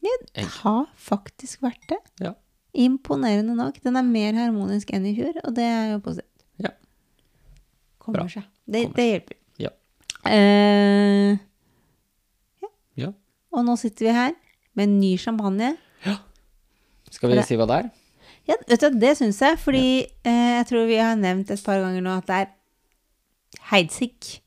Speaker 2: Det har faktisk vært det.
Speaker 1: Ja.
Speaker 2: Imponerende nok. Den er mer harmonisk enn i fjor, og det er jo positivt.
Speaker 1: Ja.
Speaker 2: Kommer
Speaker 1: Bra.
Speaker 2: seg. Det,
Speaker 1: Kommer
Speaker 2: det hjelper.
Speaker 1: Ja.
Speaker 2: Eh,
Speaker 1: ja.
Speaker 2: og nå sitter vi her med en ny champagne.
Speaker 1: Skal vi
Speaker 2: For det-
Speaker 1: si hva det er?
Speaker 2: Ja, vet du, hva, det syns jeg, fordi eh, jeg tror vi har nevnt et par ganger nå at det er Heidsik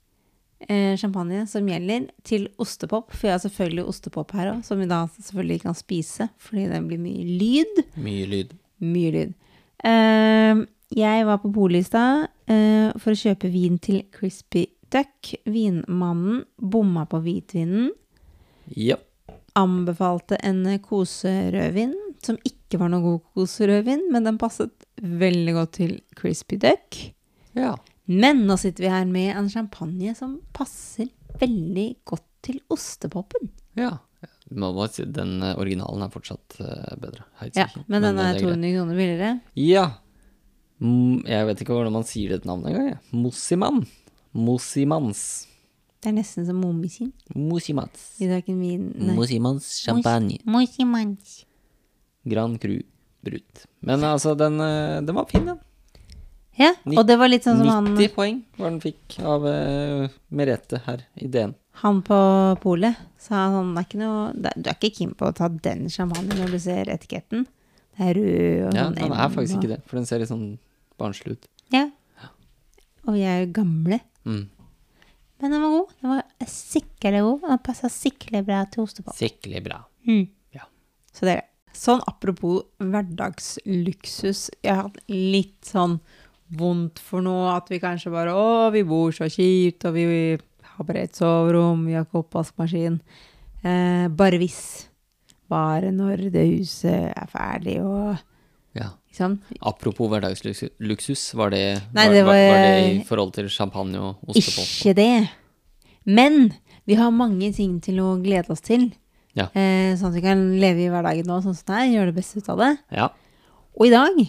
Speaker 2: eh, champagne som gjelder til ostepop. For jeg har selvfølgelig ostepop her òg, som vi da selvfølgelig ikke kan spise fordi det blir mye lyd.
Speaker 1: Mye lyd.
Speaker 2: Mye lyd. Eh, jeg var på Polet i stad eh, for å kjøpe vin til Crispy Duck. Vinmannen bomma på hvitvinen
Speaker 1: Ja.
Speaker 2: anbefalte en koserødvin, som ikke var noe god koserødvin, men den passet veldig godt til Crispy Duck.
Speaker 1: ja.
Speaker 2: Men nå sitter vi her med en champagne som passer veldig godt til ostepopen.
Speaker 1: Ja. Man må si den eh, originalen er fortsatt eh, bedre. Heidsieck.
Speaker 2: Ja, men den
Speaker 1: eh,
Speaker 2: er
Speaker 1: det greit.
Speaker 2: 200 kroner billigere.
Speaker 1: Ja. Mm, Jeg vet ikke hvordan man sier dette navnet engang. jeg. Mossimann. Mossimans.
Speaker 2: Det er nesten som momisin.
Speaker 1: Mossimans.
Speaker 2: Vi drakk en vin Nei.
Speaker 1: Mossimans champagne.
Speaker 2: Mosimans.
Speaker 1: Grand Cru Brut. Men altså, den, eh, den var fin, den.
Speaker 2: Ja, og det var litt sånn som han,
Speaker 1: 90 poeng var den fikk av eh, Merete her i DN.
Speaker 2: han på polet sa sånn, det er ikke noe, det- du er ikke keen på å ta den champagnen når du ser etiketten. Det er rød og
Speaker 1: Ja,
Speaker 2: sånn.
Speaker 1: den er faktisk
Speaker 2: og-
Speaker 1: ikke det, for den ser litt sånn barnslig ut.
Speaker 2: Ja. Og vi er jo gamle.
Speaker 1: Mm.
Speaker 2: Men den var god. Den var sikkert god. Den passa sikkert bra til ostepop.
Speaker 1: Skikkelig bra. Ja.
Speaker 2: Så det er det. Sånn apropos hverdagsluksus. Jeg har hatt litt sånn vondt for noe. At vi kanskje bare Å, vi bor så kjipt, og vi har bare et soverom, vi har ikke oppvaskmaskin. Eh, bare hvis. Bare når det huset er ferdig og
Speaker 1: ja.
Speaker 2: liksom.
Speaker 1: Apropos hverdagsluksus, var det,
Speaker 2: Nei,
Speaker 1: var,
Speaker 2: det var-
Speaker 1: var, var det i forhold til champagne og ostepop?
Speaker 2: Ikke det. Men vi har mange ting til å glede oss til.
Speaker 1: Ja.
Speaker 2: Eh, sånn at vi kan leve i hverdagen nå sånn som det er, gjøre det beste ut av det.
Speaker 1: Ja.
Speaker 2: Og i dag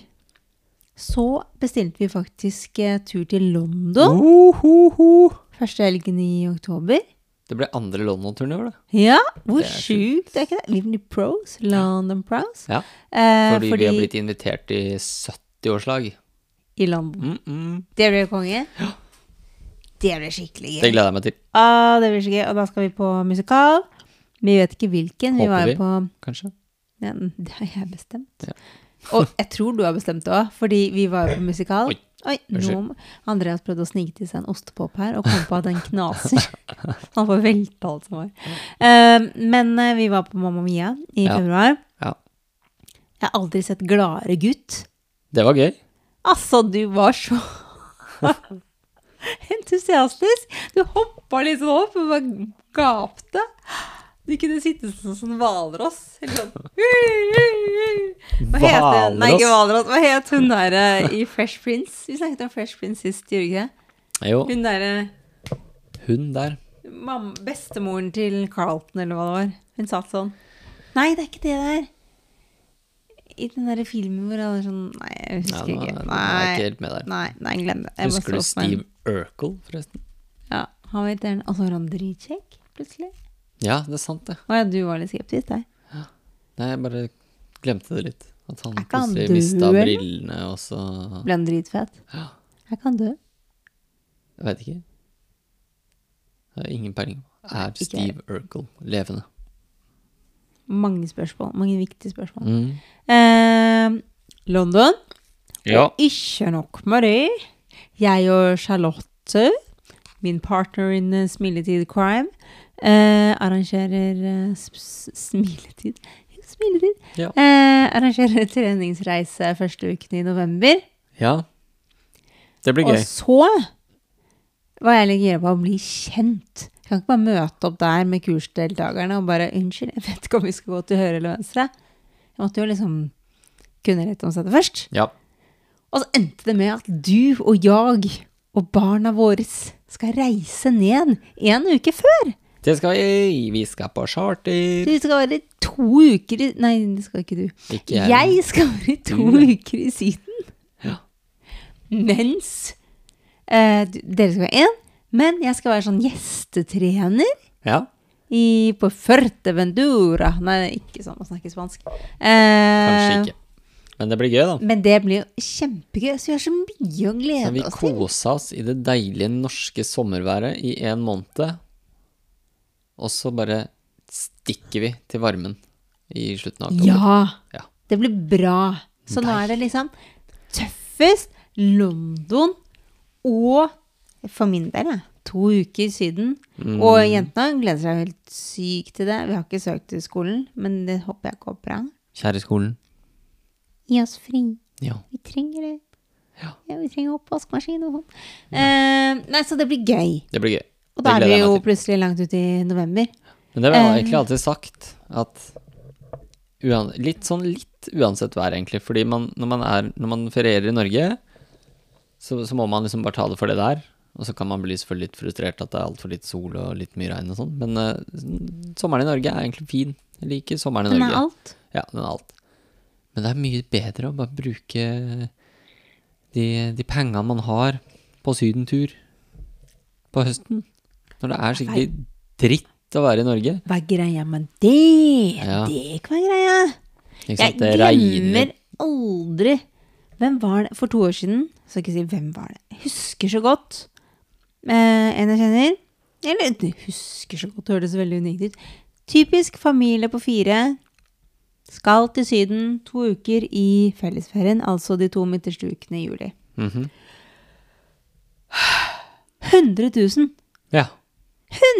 Speaker 2: så bestilte vi faktisk eh, tur til London. Første helgen i oktober.
Speaker 1: Det ble andre London-turné, var det?
Speaker 2: Ja, hvor
Speaker 1: Det er
Speaker 2: sjukt er ikke det? Vi blir pros. London pros.
Speaker 1: Ja.
Speaker 2: Eh,
Speaker 1: Fordi, vi har blitt invitert i 70-årslag.
Speaker 2: i London.
Speaker 1: Mm -mm.
Speaker 2: Det ble konge. Det ble skikkelig gøy.
Speaker 1: Det gleder jeg meg til,
Speaker 2: Ah, det blir så gøy. Og da skal vi på musikal. Vi vet ikke hvilken. Vi
Speaker 1: Håper
Speaker 2: var jo
Speaker 1: vi.
Speaker 2: på
Speaker 1: kanskje.
Speaker 2: Ja, det har jeg bestemt.
Speaker 1: Ja.
Speaker 2: Og jeg tror du har bestemt det òg, fordi vi var jo på musikal.
Speaker 1: Oi.
Speaker 2: Oi, nå
Speaker 1: Unnskyld.
Speaker 2: må- Andreas prøvde å snike til seg en ostepop her, og kom på at den knaser. Han får velta alt som var. Eh, men eh, vi var på Mamma Mia i
Speaker 1: Ja.
Speaker 2: februar.
Speaker 1: Ja.
Speaker 2: Jeg har aldri sett gladere gutt.
Speaker 1: Det var gøy.
Speaker 2: Altså, du var så entusiastisk. Du hoppa liksom opp og bare gapte. Du kunne sitte sånn som hvalross. Eller sånn Hva het hun? Nei, ikke hvalross. Hva het hun der eh, i Fresh Prince? Vi snakket om Fresh Prince sist, gjorde vi ikke det?
Speaker 1: Jo,
Speaker 2: Hun eh, derre
Speaker 1: hun der.
Speaker 2: Bestemoren til Carlton, eller hva det var. Hun satt sånn. Nei, det er ikke det der. I den derre filmen hvor alle er sånn Nei, jeg
Speaker 1: Ja,
Speaker 2: husker
Speaker 1: nå,
Speaker 2: ikke.
Speaker 1: nå
Speaker 2: Nei.
Speaker 1: er jeg ikke helt med der.
Speaker 2: Nei, nei, glem det. Jeg bare
Speaker 1: Husker du
Speaker 2: så på en-
Speaker 1: Steve Urkel, forresten?
Speaker 2: Ja, han var irriterende. Og så var Altså, han dritkjekk, plutselig.
Speaker 1: Ja, det er sant, det.
Speaker 2: Å ja, du var litt skeptisk der.
Speaker 1: Nei, jeg bare glemte det litt. At han
Speaker 2: Er ikke han
Speaker 1: plutselig
Speaker 2: død,
Speaker 1: mista
Speaker 2: eller?
Speaker 1: brillene, og så
Speaker 2: Ble han dritfett?
Speaker 1: Ja.
Speaker 2: Jeg kan dø.
Speaker 1: Jeg veit ikke. Jeg har ingen peiling. Er
Speaker 2: ikke
Speaker 1: Steve Urkel levende?
Speaker 2: Mange spørsmål. Mange viktige spørsmål.
Speaker 1: Mm.
Speaker 2: Eh, London.
Speaker 1: Ja.
Speaker 2: Ikke nok med det. Jeg og Charlotte, min partner in eh, Smiletid Crime, eh, arrangerer eh, s- s- Smiletid? Jo, Smiletid.
Speaker 1: Ja.
Speaker 2: Eh, arrangerer treningsreise første uken i november.
Speaker 1: ja. Det blir gøy.
Speaker 2: Og så var jeg litt gira på å bli kjent. Jeg kan ikke bare møte opp der med kursdeltakerne og bare 'Unnskyld, jeg vet ikke om vi skal gå til høyre eller venstre'. Jeg måtte jo liksom kunne litt om dette først.
Speaker 1: Ja.
Speaker 2: Og så endte det med at du og jeg og barna våre skal reise ned en uke før.
Speaker 1: Det skal vi. Vi skal på charter.
Speaker 2: Du skal være to uker i Nei, det skal ikke du.
Speaker 1: Ikke jeg.
Speaker 2: Jeg skal være to
Speaker 1: Du, ja.
Speaker 2: uker i Syden.
Speaker 1: Ja.
Speaker 2: Mens eh, du- dere skal være én, men jeg skal være sånn gjestetrener
Speaker 1: Ja.
Speaker 2: i, på Fuerteventura. Nei, ikke sånn å snakke spansk.
Speaker 1: Kanskje
Speaker 2: Eh.
Speaker 1: ikke. Men det blir gøy, da.
Speaker 2: Men det blir jo kjempegøy. Så vi har så mye å
Speaker 1: Så vi
Speaker 2: glede oss til.
Speaker 1: kosa oss i det deilige norske sommerværet i en måned. Og så bare stikker vi til varmen i slutten av oktober.
Speaker 2: Ja.
Speaker 1: Ja.
Speaker 2: Det blir bra. Så nå er det liksom tøffest London og for min del, jeg, to uker i Syden.
Speaker 1: Mm.
Speaker 2: Og jentene gleder seg helt sykt til det. Vi har ikke søkt til skolen, men det håper jeg går bra.
Speaker 1: Kjære skolen.
Speaker 2: Gi oss fri.
Speaker 1: Ja.
Speaker 2: Vi trenger det.
Speaker 1: Ja.
Speaker 2: vi trenger oppvaskmaskin og sånn. Eh, nei, så det blir gøy.
Speaker 1: Det blir gøy.
Speaker 2: Og da er
Speaker 1: gleder
Speaker 2: vi
Speaker 1: jeg
Speaker 2: jo
Speaker 1: meg til.
Speaker 2: plutselig langt ut i november.
Speaker 1: Men det har jeg
Speaker 2: Eh.
Speaker 1: egentlig alltid sagt, at uan, litt sånn litt uansett vær, egentlig. Fordi man, når, man er, når man ferierer i Norge, så, så må man liksom bare ta det for det der. Og så kan man bli selvfølgelig litt frustrert at det er altfor litt sol og litt mye regn og sånn. Men eh, sånn- sommeren i Norge er egentlig fin. Jeg liker sommeren i
Speaker 2: Den er
Speaker 1: Norge.
Speaker 2: alt.
Speaker 1: Ja, den er alt. Men det er mye bedre å bare bruke de, de pengene man har på sydentur på høsten. Når det er skikkelig dritt å være i Norge.
Speaker 2: Hva er greia med det?
Speaker 1: Ja.
Speaker 2: Det kan være greia.
Speaker 1: Ikke
Speaker 2: Jeg
Speaker 1: sant? Det
Speaker 2: glemmer
Speaker 1: regner.
Speaker 2: aldri Hvem var det for to år siden? Så ikke si hvem var det. Jeg husker så godt eh, en jeg kjenner. Eller jeg husker så godt, det hørtes veldig unikt ut. Typisk familie på fire. Skal til Syden to uker i fellesferien, altså de to midterste ukene i juli.
Speaker 1: Mhm.
Speaker 2: 100 000!
Speaker 1: Ja.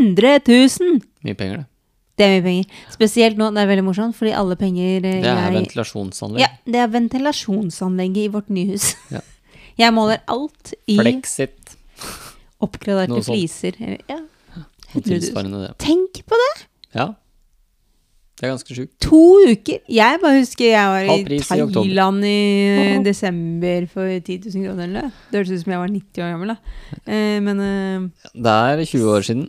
Speaker 2: 100 000!
Speaker 1: Mye penger, det.
Speaker 2: Det er mye penger. Spesielt nå, det er veldig morsomt, fordi alle penger eh,
Speaker 1: Det er
Speaker 2: jeg
Speaker 1: ventilasjonsanlegg.
Speaker 2: Ja, det er ventilasjonsanlegget i vårt nye hus.
Speaker 1: Ja.
Speaker 2: Jeg måler alt i
Speaker 1: Flexit.
Speaker 2: oppgraderte
Speaker 1: noe sånt.
Speaker 2: fliser. eller- Ja.
Speaker 1: Og
Speaker 2: 100 000.
Speaker 1: tilsvarende det.
Speaker 2: Tenk på det!
Speaker 1: Ja. Det er ganske sjukt.
Speaker 2: To uker! Jeg bare husker jeg var
Speaker 1: Halv
Speaker 2: i
Speaker 1: pris i oktober.
Speaker 2: Thailand i eh, desember for 10 000 kroner. Eller? noe. Det hørtes ut som jeg var 90 år gammel, da. Eh, men eh,
Speaker 1: Det er 20 år siden.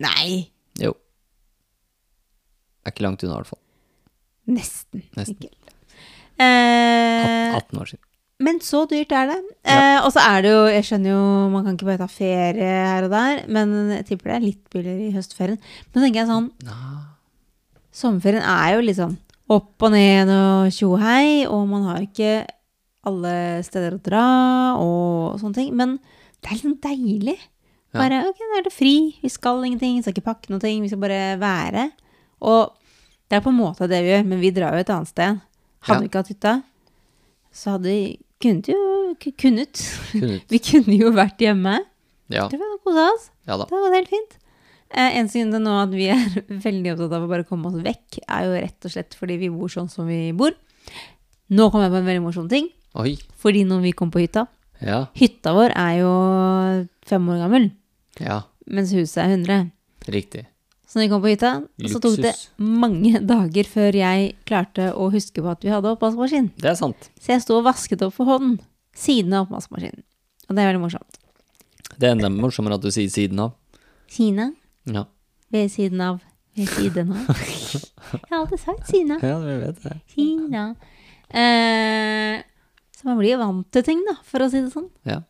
Speaker 2: Nei!
Speaker 1: Jo. Er ikke langt unna, i hvert fall.
Speaker 2: Nesten.
Speaker 1: Nesten.
Speaker 2: Ikke. Eh,
Speaker 1: 18 år siden.
Speaker 2: Men så dyrt er det. Eh, og så er det jo, jeg skjønner jo, man kan ikke bare ta ferie her og der, men jeg tipper det er litt billigere i høstferien. Men så tenker jeg sånn, sommerferien er jo litt sånn opp og ned og tjo og hei, og man har ikke alle steder å dra og sånne ting. Men det er litt sånn deilig.
Speaker 1: Ja.
Speaker 2: Bare, ok, nå er det fri, vi skal ingenting, vi skal ikke pakke noe, ting, vi skal bare være. Og Det er på en måte det vi gjør, men vi drar jo et annet sted. Hadde
Speaker 1: Ja.
Speaker 2: vi ikke hatt hytta, så hadde vi kunnet jo k- kunnet.
Speaker 1: Kunne ut.
Speaker 2: Vi kunne jo vært hjemme.
Speaker 1: Ja,
Speaker 2: Det var kosa oss.
Speaker 1: ja da.
Speaker 2: Det var helt fint. Eh, en grunn til nå at vi er veldig opptatt av å bare komme oss vekk, er jo rett og slett fordi vi bor sånn som vi bor. Nå kom jeg på en veldig morsom ting.
Speaker 1: Oi.
Speaker 2: Fordi når vi kom på hytta
Speaker 1: Ja.
Speaker 2: Hytta vår er jo fem år gammel,
Speaker 1: Ja.
Speaker 2: mens huset er 100.
Speaker 1: Riktig.
Speaker 2: Så når vi kom på hytta, så tok det
Speaker 1: Luksus.
Speaker 2: mange dager før jeg klarte å huske på at vi hadde oppvaskmaskin.
Speaker 1: Det er sant.
Speaker 2: Så jeg sto og vasket opp for hånd siden av oppvaskmaskinen. Og det er veldig morsomt.
Speaker 1: Det er enda morsommere at du sier siden av.
Speaker 2: Kina
Speaker 1: Ja,
Speaker 2: ved siden av ved siden av. Jeg har alltid sagt Kina.
Speaker 1: ja du vet det.
Speaker 2: Kina. Eh, så man blir jo vant til ting, da, for å si det sånn.
Speaker 1: Ja,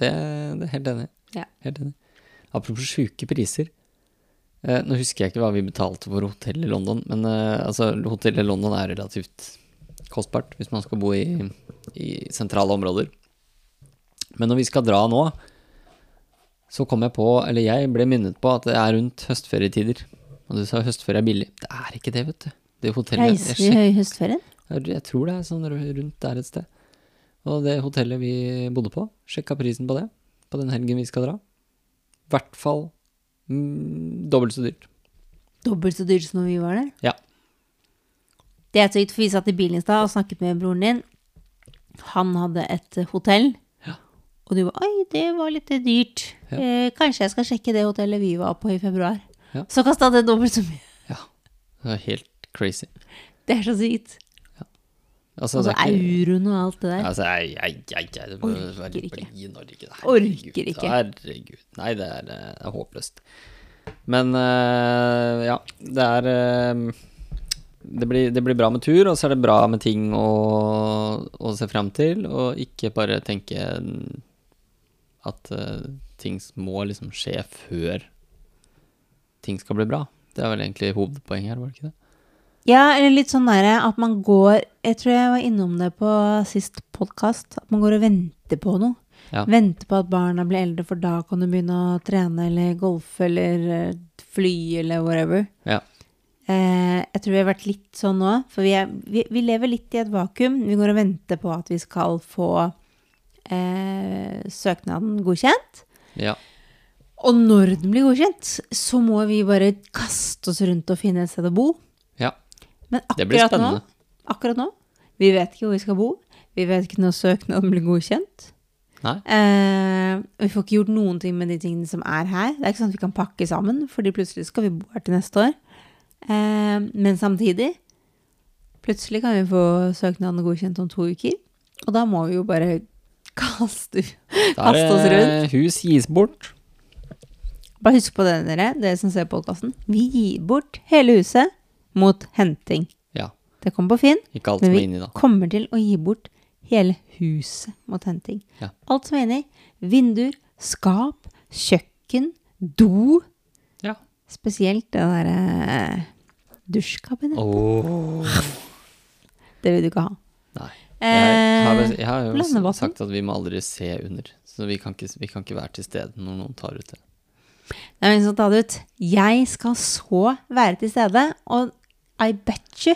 Speaker 1: det, det er helt enig.
Speaker 2: Ja.
Speaker 1: Helt enig. Apropos sjuke priser. Eh, nå husker jeg ikke hva vi betalte for hotell i London, men eh, altså, hotellet i London er relativt kostbart hvis man skal bo i, i sentrale områder. Men når vi skal dra nå, så kom jeg på, eller jeg ble minnet på, at det er rundt høstferietider. Og du sa høstferie er billig. Det er ikke det, vet du. Det hotellet, jeg
Speaker 2: Reiser vi i høstferien?
Speaker 1: jeg jeg tror det er sånn rundt der et sted. Og det hotellet vi bodde på, sjekka prisen på det, på den helgen vi skal dra. I hvert fall mm, dobbelt så dyrt.
Speaker 2: Dobbelt så dyrt som når vi var der?
Speaker 1: Ja.
Speaker 2: Det er sykt, for vi satt i bilen i stad og snakket med broren din. Han hadde et eh, hotell. Og du var Oi, det var litt dyrt.
Speaker 1: Ja.
Speaker 2: Eh, kanskje jeg skal sjekke det hotellet vi var på i februar.
Speaker 1: Ja.
Speaker 2: Så kasta det dobbelt så mye.
Speaker 1: Ja. Det var helt crazy.
Speaker 2: Det er så sykt.
Speaker 1: Altså,
Speaker 2: Og så
Speaker 1: det er ikke
Speaker 2: euroen og alt det der.
Speaker 1: Altså, ei, ei, ei, ei, det må
Speaker 2: Orker
Speaker 1: være
Speaker 2: ikke.
Speaker 1: bli Norge.
Speaker 2: Orker ikke.
Speaker 1: Herregud. Nei, det er, eh, det er håpløst. Men eh, ja, det er eh, det blir, det blir bra med tur, og så er det bra med ting å, å se fram til. Og ikke bare tenke at eh, ting må liksom skje før ting skal bli bra. Det er vel egentlig hovedpoenget her, var det ikke det?
Speaker 2: Ja, eller litt sånn derre at man går Jeg tror jeg var innom det på sist podkast. At man går og venter på noe.
Speaker 1: Ja.
Speaker 2: Venter på at barna blir eldre, for da kan du begynne å trene eller golfe eller eh, fly eller whatever.
Speaker 1: Ja.
Speaker 2: Eh, jeg tror vi har vært litt sånn nå, for vi, er, vi, vi lever litt i et vakuum. Vi går og venter på at vi skal få eh, søknaden godkjent.
Speaker 1: Ja.
Speaker 2: Og når den blir godkjent, så må vi bare kaste oss rundt og finne et sted å bo.
Speaker 1: ja.
Speaker 2: Men
Speaker 1: Det blir
Speaker 2: akkurat nå,
Speaker 1: spennende.
Speaker 2: akkurat nå, vi vet ikke hvor vi skal bo. Vi vet ikke når søknaden blir godkjent.
Speaker 1: Nei.
Speaker 2: Eh, vi får ikke gjort noen ting med de tingene som er her. Det er ikke sånn at vi kan pakke sammen, fordi plutselig skal vi bo her til neste år. Eh, men samtidig, plutselig kan vi få søknaden godkjent om to uker. Og da må vi jo bare kaste ut.
Speaker 1: Da
Speaker 2: Kaste oss
Speaker 1: er det hus gis bort.
Speaker 2: Bare husk på det, dere, dere som ser podkasten. Vi gir bort hele huset mot henting.
Speaker 1: Ja.
Speaker 2: Det kommer på Finn.
Speaker 1: Ikke alt
Speaker 2: Men
Speaker 1: som
Speaker 2: vi
Speaker 1: er inni, da.
Speaker 2: kommer til å gi bort hele huset mot henting.
Speaker 1: Ja.
Speaker 2: Alt som er inni. Vinduer, skap, kjøkken, do.
Speaker 1: Ja.
Speaker 2: Spesielt det derre eh, dusjkabinett. Det vil du ikke ha.
Speaker 1: Nei. Jeg har,
Speaker 2: Eh,
Speaker 1: jeg har jo
Speaker 2: blandevann.
Speaker 1: s- sagt at vi må aldri se under. Så vi kan ikke, vi kan ikke være til stede når noen tar ut det.
Speaker 2: Det er ingen som tar det ut. Jeg skal så være til stede, og I bet you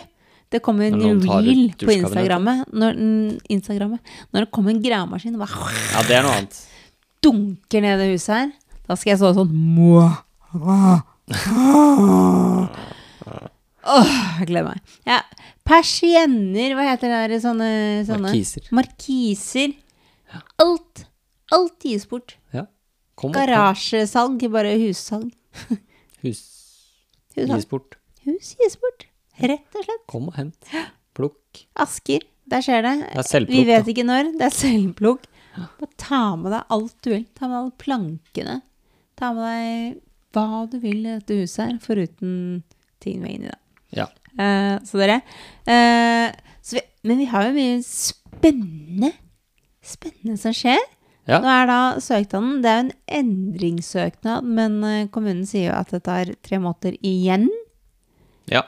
Speaker 2: det kommer en
Speaker 1: Når noen tar ut
Speaker 2: reel på
Speaker 1: dusjkabinettet.
Speaker 2: Instagrammet når, mm, Instagrammet når det kommer en gravemaskin og bare
Speaker 1: Ja, det er noe annet.
Speaker 2: dunker ned det huset her, da skal jeg stå sånn Må. Åh, jeg gleder meg. Ja, persienner, hva heter det der? Sånne, sånne
Speaker 1: Markiser.
Speaker 2: Markiser. Alt. Alt gis bort.
Speaker 1: Ja. Kom opp da.
Speaker 2: Garasjesalg, bare hussalg.
Speaker 1: Hus
Speaker 2: Hussalg.
Speaker 1: gis bort.
Speaker 2: Hus gis bort. Rett og slett.
Speaker 1: Kom og hent. Plukk.
Speaker 2: Asker, der skjer det.
Speaker 1: Det er selvplukk,
Speaker 2: Vi vet
Speaker 1: da.
Speaker 2: ikke når. Det er selvplukk. Bare ta med deg alt du vil. Ta med alle plankene. Ta med deg hva du vil i dette huset her, foruten ting vi er inni, da.
Speaker 1: Ja.
Speaker 2: Eh, så dere eh, så vi, Men vi har jo mye spennende Spennende som skjer.
Speaker 1: Ja.
Speaker 2: Nå er da søknaden Det er jo en endringssøknad, men eh, kommunen sier jo at det tar tre måneder igjen.
Speaker 1: Ja.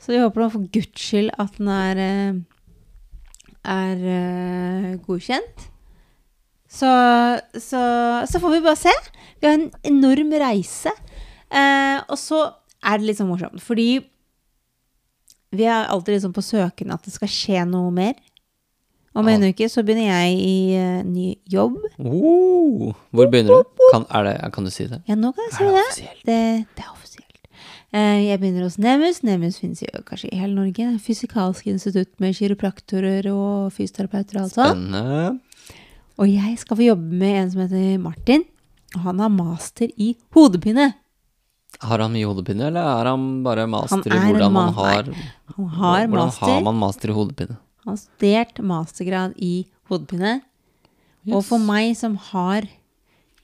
Speaker 2: Så vi håper da for guds skyld at den er, eh, er eh, godkjent. Så, så, så får vi bare se. Vi har en enorm reise. Eh, og så er det litt sånn morsomt, fordi Vi er alltid liksom på søken at det skal skje noe mer. Om en uke så begynner jeg i eh, ny jobb.
Speaker 1: Oh, hvor begynner du? Kan, er det, kan du si det?
Speaker 2: Ja, nå kan jeg si
Speaker 1: Er det offisielt?
Speaker 2: det. Det, det er offisielt. Eh, Jeg begynner hos Nemus. Nemus finnes jo kanskje i hele Norge. Fysikalsk institutt med kiropraktorer og fysioterapeuter og alt sånt.
Speaker 1: Spennende.
Speaker 2: Og jeg skal få jobbe med en som heter Martin. Og han har master i hodepine.
Speaker 1: Har han mye hodepine, eller er han bare master
Speaker 2: er
Speaker 1: i
Speaker 2: en
Speaker 1: hvordan man
Speaker 2: ma-
Speaker 1: har,
Speaker 2: Han har
Speaker 1: hvordan har
Speaker 2: master.
Speaker 1: man master i hodepine?
Speaker 2: Han har studert mastergrad i hodepine. Og
Speaker 1: Yes.
Speaker 2: for meg som har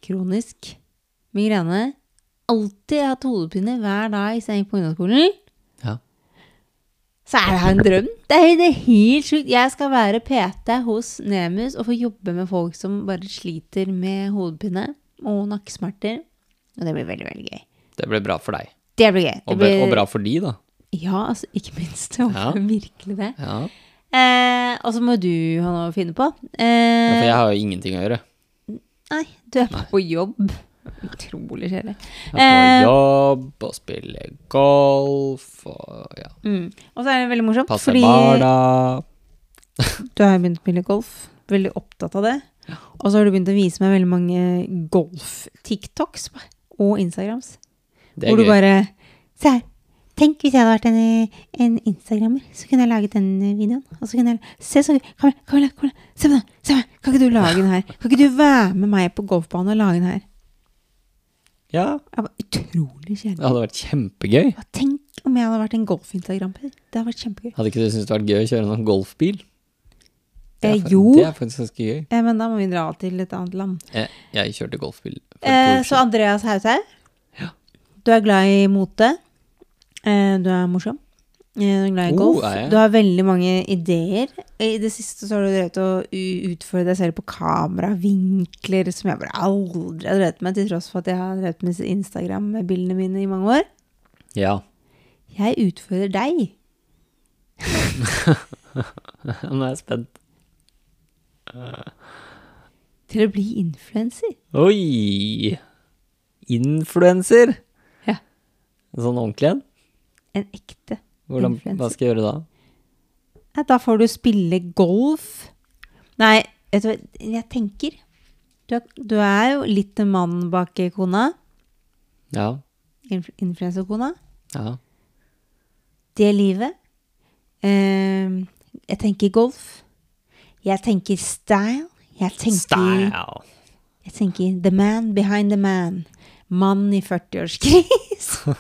Speaker 2: kronisk migrene, alltid hatt hodepine hver dag siden jeg gikk på ungdomsskolen,
Speaker 1: Ja.
Speaker 2: så er det her en drøm. Det er, det er helt sjukt. Jeg skal være PT hos Nemus og få jobbe med folk som bare sliter med hodepine og nakkesmerter. Og det blir veldig, veldig gøy.
Speaker 1: Det ble bra for deg.
Speaker 2: Det blir gøy. Det
Speaker 1: Og, ble,
Speaker 2: blir,
Speaker 1: og bra for de, da.
Speaker 2: Ja, altså, ikke minst. Det
Speaker 1: Ja.
Speaker 2: var virkelig det.
Speaker 1: Ja.
Speaker 2: Eh, og så må du ha noe å finne på.
Speaker 1: Ja,
Speaker 2: Eh,
Speaker 1: For jeg har jo ingenting å gjøre.
Speaker 2: Nei, du er på jobb. Utrolig kjedelig. Eh,
Speaker 1: Jeg er på jobb og spiller golf og ja.
Speaker 2: Mm. Og så er det veldig morsomt,
Speaker 1: passer
Speaker 2: fordi
Speaker 1: barna.
Speaker 2: du har begynt å spille golf. Veldig opptatt av det. Og så har du begynt å vise meg veldig mange golf-tiktoks og Instagrams.
Speaker 1: Det
Speaker 2: Hvor
Speaker 1: er
Speaker 2: du
Speaker 1: gøy.
Speaker 2: bare Se her. Tenk hvis jeg hadde vært en, en instagrammer, så kunne jeg laget den videoen. Og så kunne jeg Se så gøy. Kom her, kom her, kom her. Se på den. Se på den. Kan ikke du lage den her? Kan ikke du være med meg på golfbanen og lage den her?
Speaker 1: Ja,
Speaker 2: Jeg var utrolig kjedelig.
Speaker 1: det hadde vært kjempegøy.
Speaker 2: Ja, Tenk om jeg hadde vært en golf-instagrammer. Det hadde vært kjempegøy.
Speaker 1: Hadde ikke du syntes det vært gøy å kjøre noen golfbil?
Speaker 2: Eh,
Speaker 1: fa-
Speaker 2: jo.
Speaker 1: det er faktisk ganske gøy.
Speaker 2: Eh, men da må vi dra til et annet land.
Speaker 1: Jeg, jeg kjørte golfbil. for et
Speaker 2: Eh,
Speaker 1: år
Speaker 2: så
Speaker 1: siden.
Speaker 2: Andreas Haushaug,
Speaker 1: Ja.
Speaker 2: du er glad i mote. Eh, du er morsom. Eh, du er glad i
Speaker 1: Oh,
Speaker 2: golf.
Speaker 1: er jeg?
Speaker 2: du har veldig mange ideer. Eh, I det siste så har du drevet å u- utfordre deg selv på kamera, vinkler, som jeg bare aldri har drevet med, til tross for at jeg har drevet med Instagram med bildene mine i mange år.
Speaker 1: Ja.
Speaker 2: Jeg utfordrer deg.
Speaker 1: Nå er jeg spent.
Speaker 2: Til å bli influenser.
Speaker 1: Oi! Influenser!
Speaker 2: Ja.
Speaker 1: Sånn ordentlig en?
Speaker 2: En ekte.
Speaker 1: Hvordan- Hva
Speaker 2: Influencer.
Speaker 1: skal jeg gjøre da?
Speaker 2: Nei, Da får du spille golf. Nei, vet du hva, jeg tenker Du er, du er jo litt mann bak kona.
Speaker 1: Ja.
Speaker 2: Inf Influenserkona.
Speaker 1: ja.
Speaker 2: Det livet. Eh, jeg tenker golf. Jeg tenker style. Jeg tenker,
Speaker 1: Style!
Speaker 2: jeg tenker the man behind the man. Mann i 40-årskris.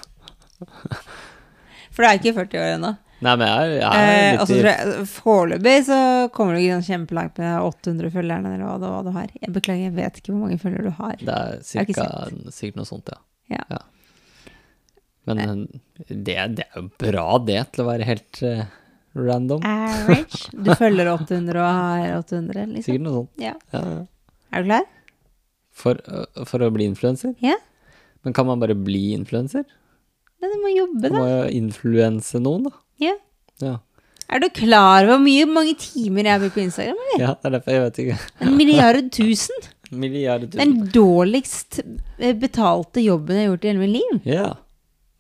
Speaker 2: For du er ikke 40 år ennå.
Speaker 1: Nei, men jeg, jeg er
Speaker 2: Eh,
Speaker 1: litt
Speaker 2: og så
Speaker 1: i-
Speaker 2: tror jeg Foreløpig så kommer du ikke sånn kjempelangt med 800 følgerne eller hva det hva du har. Jeg beklager, jeg vet ikke hvor mange følgere du har.
Speaker 1: Det er
Speaker 2: Jeg har ikke
Speaker 1: cirka, sikkert noe sånt, ja.
Speaker 2: Ja.
Speaker 1: Men eh, det, det er jo bra det, til å være helt eh, random.
Speaker 2: Average. Du følger 800 og har 800, liksom.
Speaker 1: Sikkert noe sånt.
Speaker 2: Ja.
Speaker 1: Ja. ja.
Speaker 2: Er du klar?
Speaker 1: For, eh, for å bli influenser?
Speaker 2: Ja.
Speaker 1: Men kan man bare bli influenser?
Speaker 2: Men du må jobbe,
Speaker 1: Man
Speaker 2: da.
Speaker 1: må jo influense noen, da.
Speaker 2: Ja.
Speaker 1: Ja.
Speaker 2: Er du klar over hvor mye, mange timer jeg bruker på Instagram? eller?
Speaker 1: ja, det er derfor jeg vet ikke.
Speaker 2: En milliard tusen!
Speaker 1: Milliarder tusen.
Speaker 2: Den dårligst eh, betalte jobben jeg har gjort i hele mitt liv.
Speaker 1: Ja.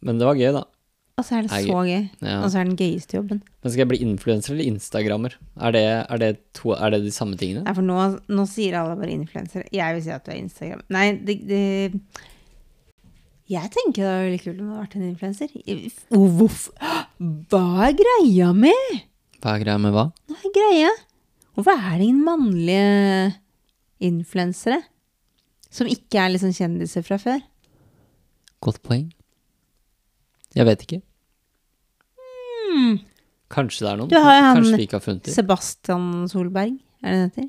Speaker 1: Men det var gøy, da.
Speaker 2: Og så er det
Speaker 1: Nei,
Speaker 2: så gøy.
Speaker 1: Ja.
Speaker 2: Og så er det den gøyeste jobben.
Speaker 1: Men skal jeg bli influenser eller instagrammer? Er det, er, det to, er det de samme tingene?
Speaker 2: Nei, for nå, nå sier alle bare influensere. Jeg vil si at du er Instagram. Nei, det, det Jeg tenker det er veldig kult om du hadde vært en influenser. Hva er greia med
Speaker 1: Hva er greia med hva?
Speaker 2: Hva er greia? Hvorfor er det ingen mannlige influensere som ikke er liksom kjendiser fra før?
Speaker 1: Godt poeng. Jeg vet ikke.
Speaker 2: Hmm.
Speaker 1: Kanskje det er noen.
Speaker 2: Du har jo han-
Speaker 1: Kanskje vi ikke har funnet dem.
Speaker 2: Sebastian Solberg, er det det heter?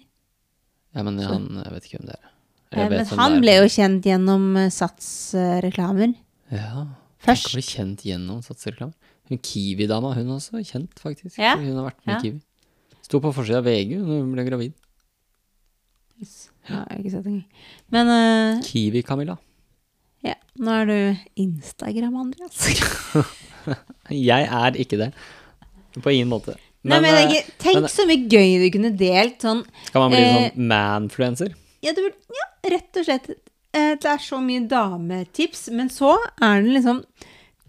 Speaker 1: Ja, men han, jeg vet ikke hvem det er. Eller
Speaker 2: Eh,
Speaker 1: jeg vet
Speaker 2: Men
Speaker 1: hvem
Speaker 2: han
Speaker 1: det er,
Speaker 2: ble
Speaker 1: men-
Speaker 2: jo kjent gjennom eh, Sats-reklamer
Speaker 1: Ja. Først.
Speaker 2: først.
Speaker 1: Ble kjent gjennom satsreklame. Hun Kiwi-dama, hun er også kjent, faktisk.
Speaker 2: Ja,
Speaker 1: fordi Hun har vært med
Speaker 2: ja.
Speaker 1: i Kiwi. Sto på forsida av VG når hun ble gravid.
Speaker 2: Ja, jeg har ikke sett engang. Men eh,
Speaker 1: Kiwi-Camilla.
Speaker 2: Ja, nå er du Instagram, Andreas.
Speaker 1: Jeg er ikke det. På ingen måte.
Speaker 2: Nei, men jeg
Speaker 1: eh,
Speaker 2: tenker, Tenk
Speaker 1: men-
Speaker 2: så mye gøy du kunne delt sånn.
Speaker 1: Kan man bli
Speaker 2: Eh,
Speaker 1: sånn manfluencer?
Speaker 2: Ja, du, burde- ja rett og slett. eh, Det er så mye dametips, men så er det liksom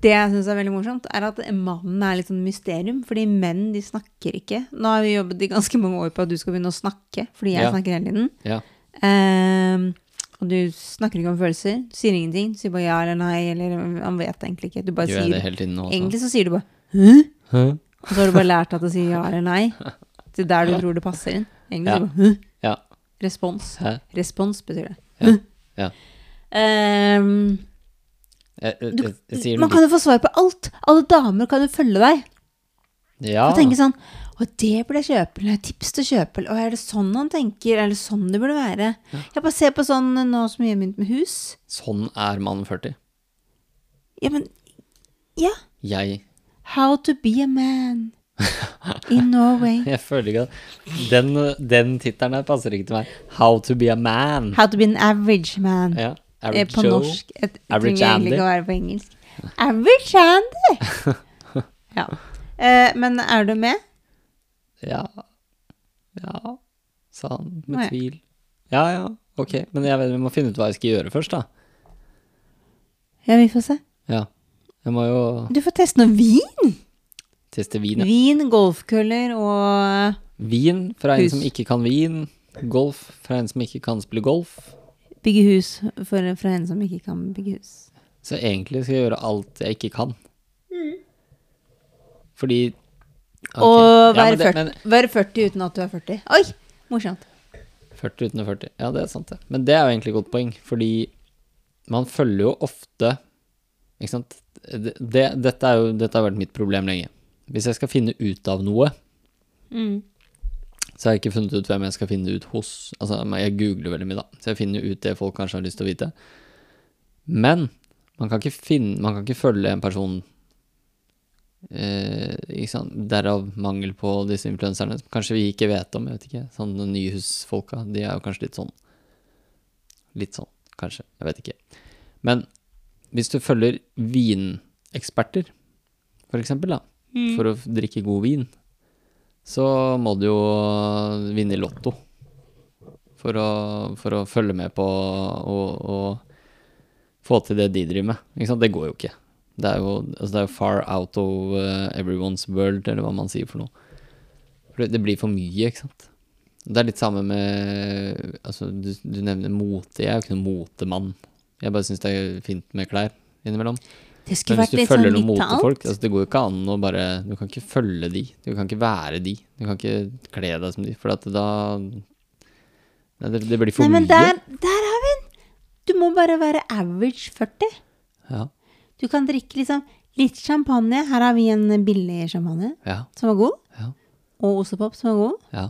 Speaker 2: Det jeg syns er veldig morsomt, er at mannen er litt sånn mysterium. Fordi menn, de snakker ikke. Nå har vi jobbet i ganske mange år på at du skal begynne å snakke, fordi jeg
Speaker 1: Ja.
Speaker 2: snakker hele tiden.
Speaker 1: Ja.
Speaker 2: Ehm, og du snakker ikke om følelser. Du sier ingenting. Du sier bare ja eller nei, eller han vet egentlig ikke. Du bare
Speaker 1: Gjør jeg det
Speaker 2: sier
Speaker 1: hele tiden nå også?
Speaker 2: Egentlig så sier du bare
Speaker 1: Hæ?
Speaker 2: Og så har du bare lært at du sier ja eller nei. Til der du tror det passer inn. Egentlig
Speaker 1: Ja.
Speaker 2: så bare «Hm?»
Speaker 1: Ja.
Speaker 2: Respons.
Speaker 1: Hæ?
Speaker 2: Respons betyr det.
Speaker 1: Ja.
Speaker 2: «Hm?»
Speaker 1: Ja.
Speaker 2: Ehm,
Speaker 1: Jeg, jeg,
Speaker 2: Du-
Speaker 1: jeg, jeg sier
Speaker 2: man
Speaker 1: noe
Speaker 2: kan jo få svar på alt. Alle damer kan jo følge deg.
Speaker 1: Ja.
Speaker 2: Og tenke sånn Å, det burde jeg kjøpe, eller tips til å kjøpe, eller «Å, er det sånn han tenker, er det sånn det burde være? Jeg bare ser på sånn nå som jeg har begynt med hus.
Speaker 1: Sånn er mann 40.
Speaker 2: Ja, men Ja.
Speaker 1: Jeg
Speaker 2: How to be a man in Norway.
Speaker 1: Jeg føler ikke at Den, den tittelen her passer ikke til meg. How to be a man.
Speaker 2: How to be an average man.
Speaker 1: Ja.
Speaker 2: Eh,
Speaker 1: Average
Speaker 2: på
Speaker 1: Joe.
Speaker 2: norsk. Jeg t-
Speaker 1: Average
Speaker 2: trenger
Speaker 1: Andy.
Speaker 2: egentlig ikke å være på engelsk. Average Andy! ja. Eh, men er du med?
Speaker 1: Ja. Ja, sa han med
Speaker 2: Nei.
Speaker 1: tvil. Ja, ja, ok. Men jeg vet, vi må finne ut hva jeg skal gjøre først, da.
Speaker 2: Ja, vi får se.
Speaker 1: Ja. Jeg må jo
Speaker 2: Du får teste noe vin.
Speaker 1: teste vin. ja.
Speaker 2: Vin, golfkøller og
Speaker 1: Vin fra en
Speaker 2: Hus.
Speaker 1: som ikke kan vin. Golf fra en som ikke kan spille golf.
Speaker 2: Bygge hus for, for en som ikke kan bygge hus.
Speaker 1: Så egentlig skal jeg gjøre alt jeg ikke kan. Fordi ok.
Speaker 2: Mm. Og
Speaker 1: Ja,
Speaker 2: være
Speaker 1: men det-
Speaker 2: 40,
Speaker 1: men-
Speaker 2: være 40 uten at du er 40. Oi, morsomt.
Speaker 1: 40 uten å 40. Ja, det er sant, det. Men det er jo egentlig et godt poeng, fordi man følger jo ofte Ikke sant. Det, det, dette, er jo, dette har vært mitt problem lenge. Hvis jeg skal finne ut av noe,
Speaker 2: Mm.
Speaker 1: så har jeg ikke funnet ut hvem jeg skal finne ut hos. Altså, jeg googler veldig mye, da, så jeg finner ut det folk kanskje har lyst til å vite. Men man kan ikke, finne, man kan ikke følge en person eh, ikke sant? Derav mangel på disse influenserne, som kanskje vi ikke vet om. jeg vet ikke. Sånne nyhusfolka, de er jo kanskje litt sånn. Litt sånn, kanskje. Jeg vet ikke. Men hvis du følger vineksperter, for eksempel, da,
Speaker 2: Mm.
Speaker 1: for å f- drikke god vin, så må du jo vinne i lotto for å, for å følge med på og, og få til det de driver med. Ikke sant? Det går jo ikke. Det er jo, altså det er jo far out of eh, everyone's world, eller hva man sier for noe. For det, det blir for mye, ikke sant. Det er litt samme med altså, du, du nevner mote. Jeg er jo ikke noen motemann. Jeg bare syns det er fint med klær innimellom.
Speaker 2: Det skulle
Speaker 1: Men hvis du
Speaker 2: vært litt sånn
Speaker 1: følger noen
Speaker 2: litt av
Speaker 1: motefolk
Speaker 2: alt.
Speaker 1: altså Det går jo ikke an å bare Du kan ikke følge de. Du kan ikke være de. Du kan ikke kle deg som de, for at da Nei, det, det blir for
Speaker 2: Nei, men
Speaker 1: mye.
Speaker 2: der, der har vi den! Du må bare være average 40.
Speaker 1: Ja,
Speaker 2: Du kan drikke liksom litt champagne. Her har vi en billig champagne
Speaker 1: ja,
Speaker 2: som var god.
Speaker 1: ja.
Speaker 2: Og ostepop som var god.
Speaker 1: ja.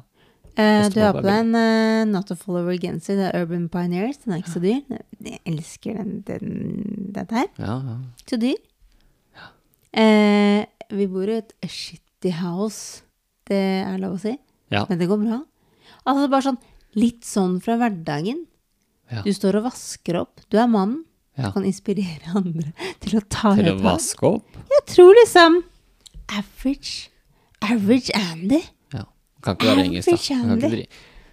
Speaker 2: Eh, du har
Speaker 1: Ostepop er
Speaker 2: på deg en eh, Not a Follower-genser. Det er Urban Pioneers. Den er ikke så dyr. Jeg elsker den, den, den her.
Speaker 1: ja, ja.
Speaker 2: Så dyr. Eh, vi bor i et shitty house. Det er lov å si.
Speaker 1: Ja.
Speaker 2: Men det går bra. Altså bare sånn litt sånn fra hverdagen.
Speaker 1: Ja.
Speaker 2: Du står og vasker opp. Du er mannen.
Speaker 1: Ja.
Speaker 2: Du kan inspirere andre til å ta
Speaker 1: Til å
Speaker 2: vare på deg.
Speaker 1: vaske opp.
Speaker 2: Jeg tror liksom Average. Average Andy.
Speaker 1: Ja. Kan ikke være engelsk, da. Du Kan ikke dri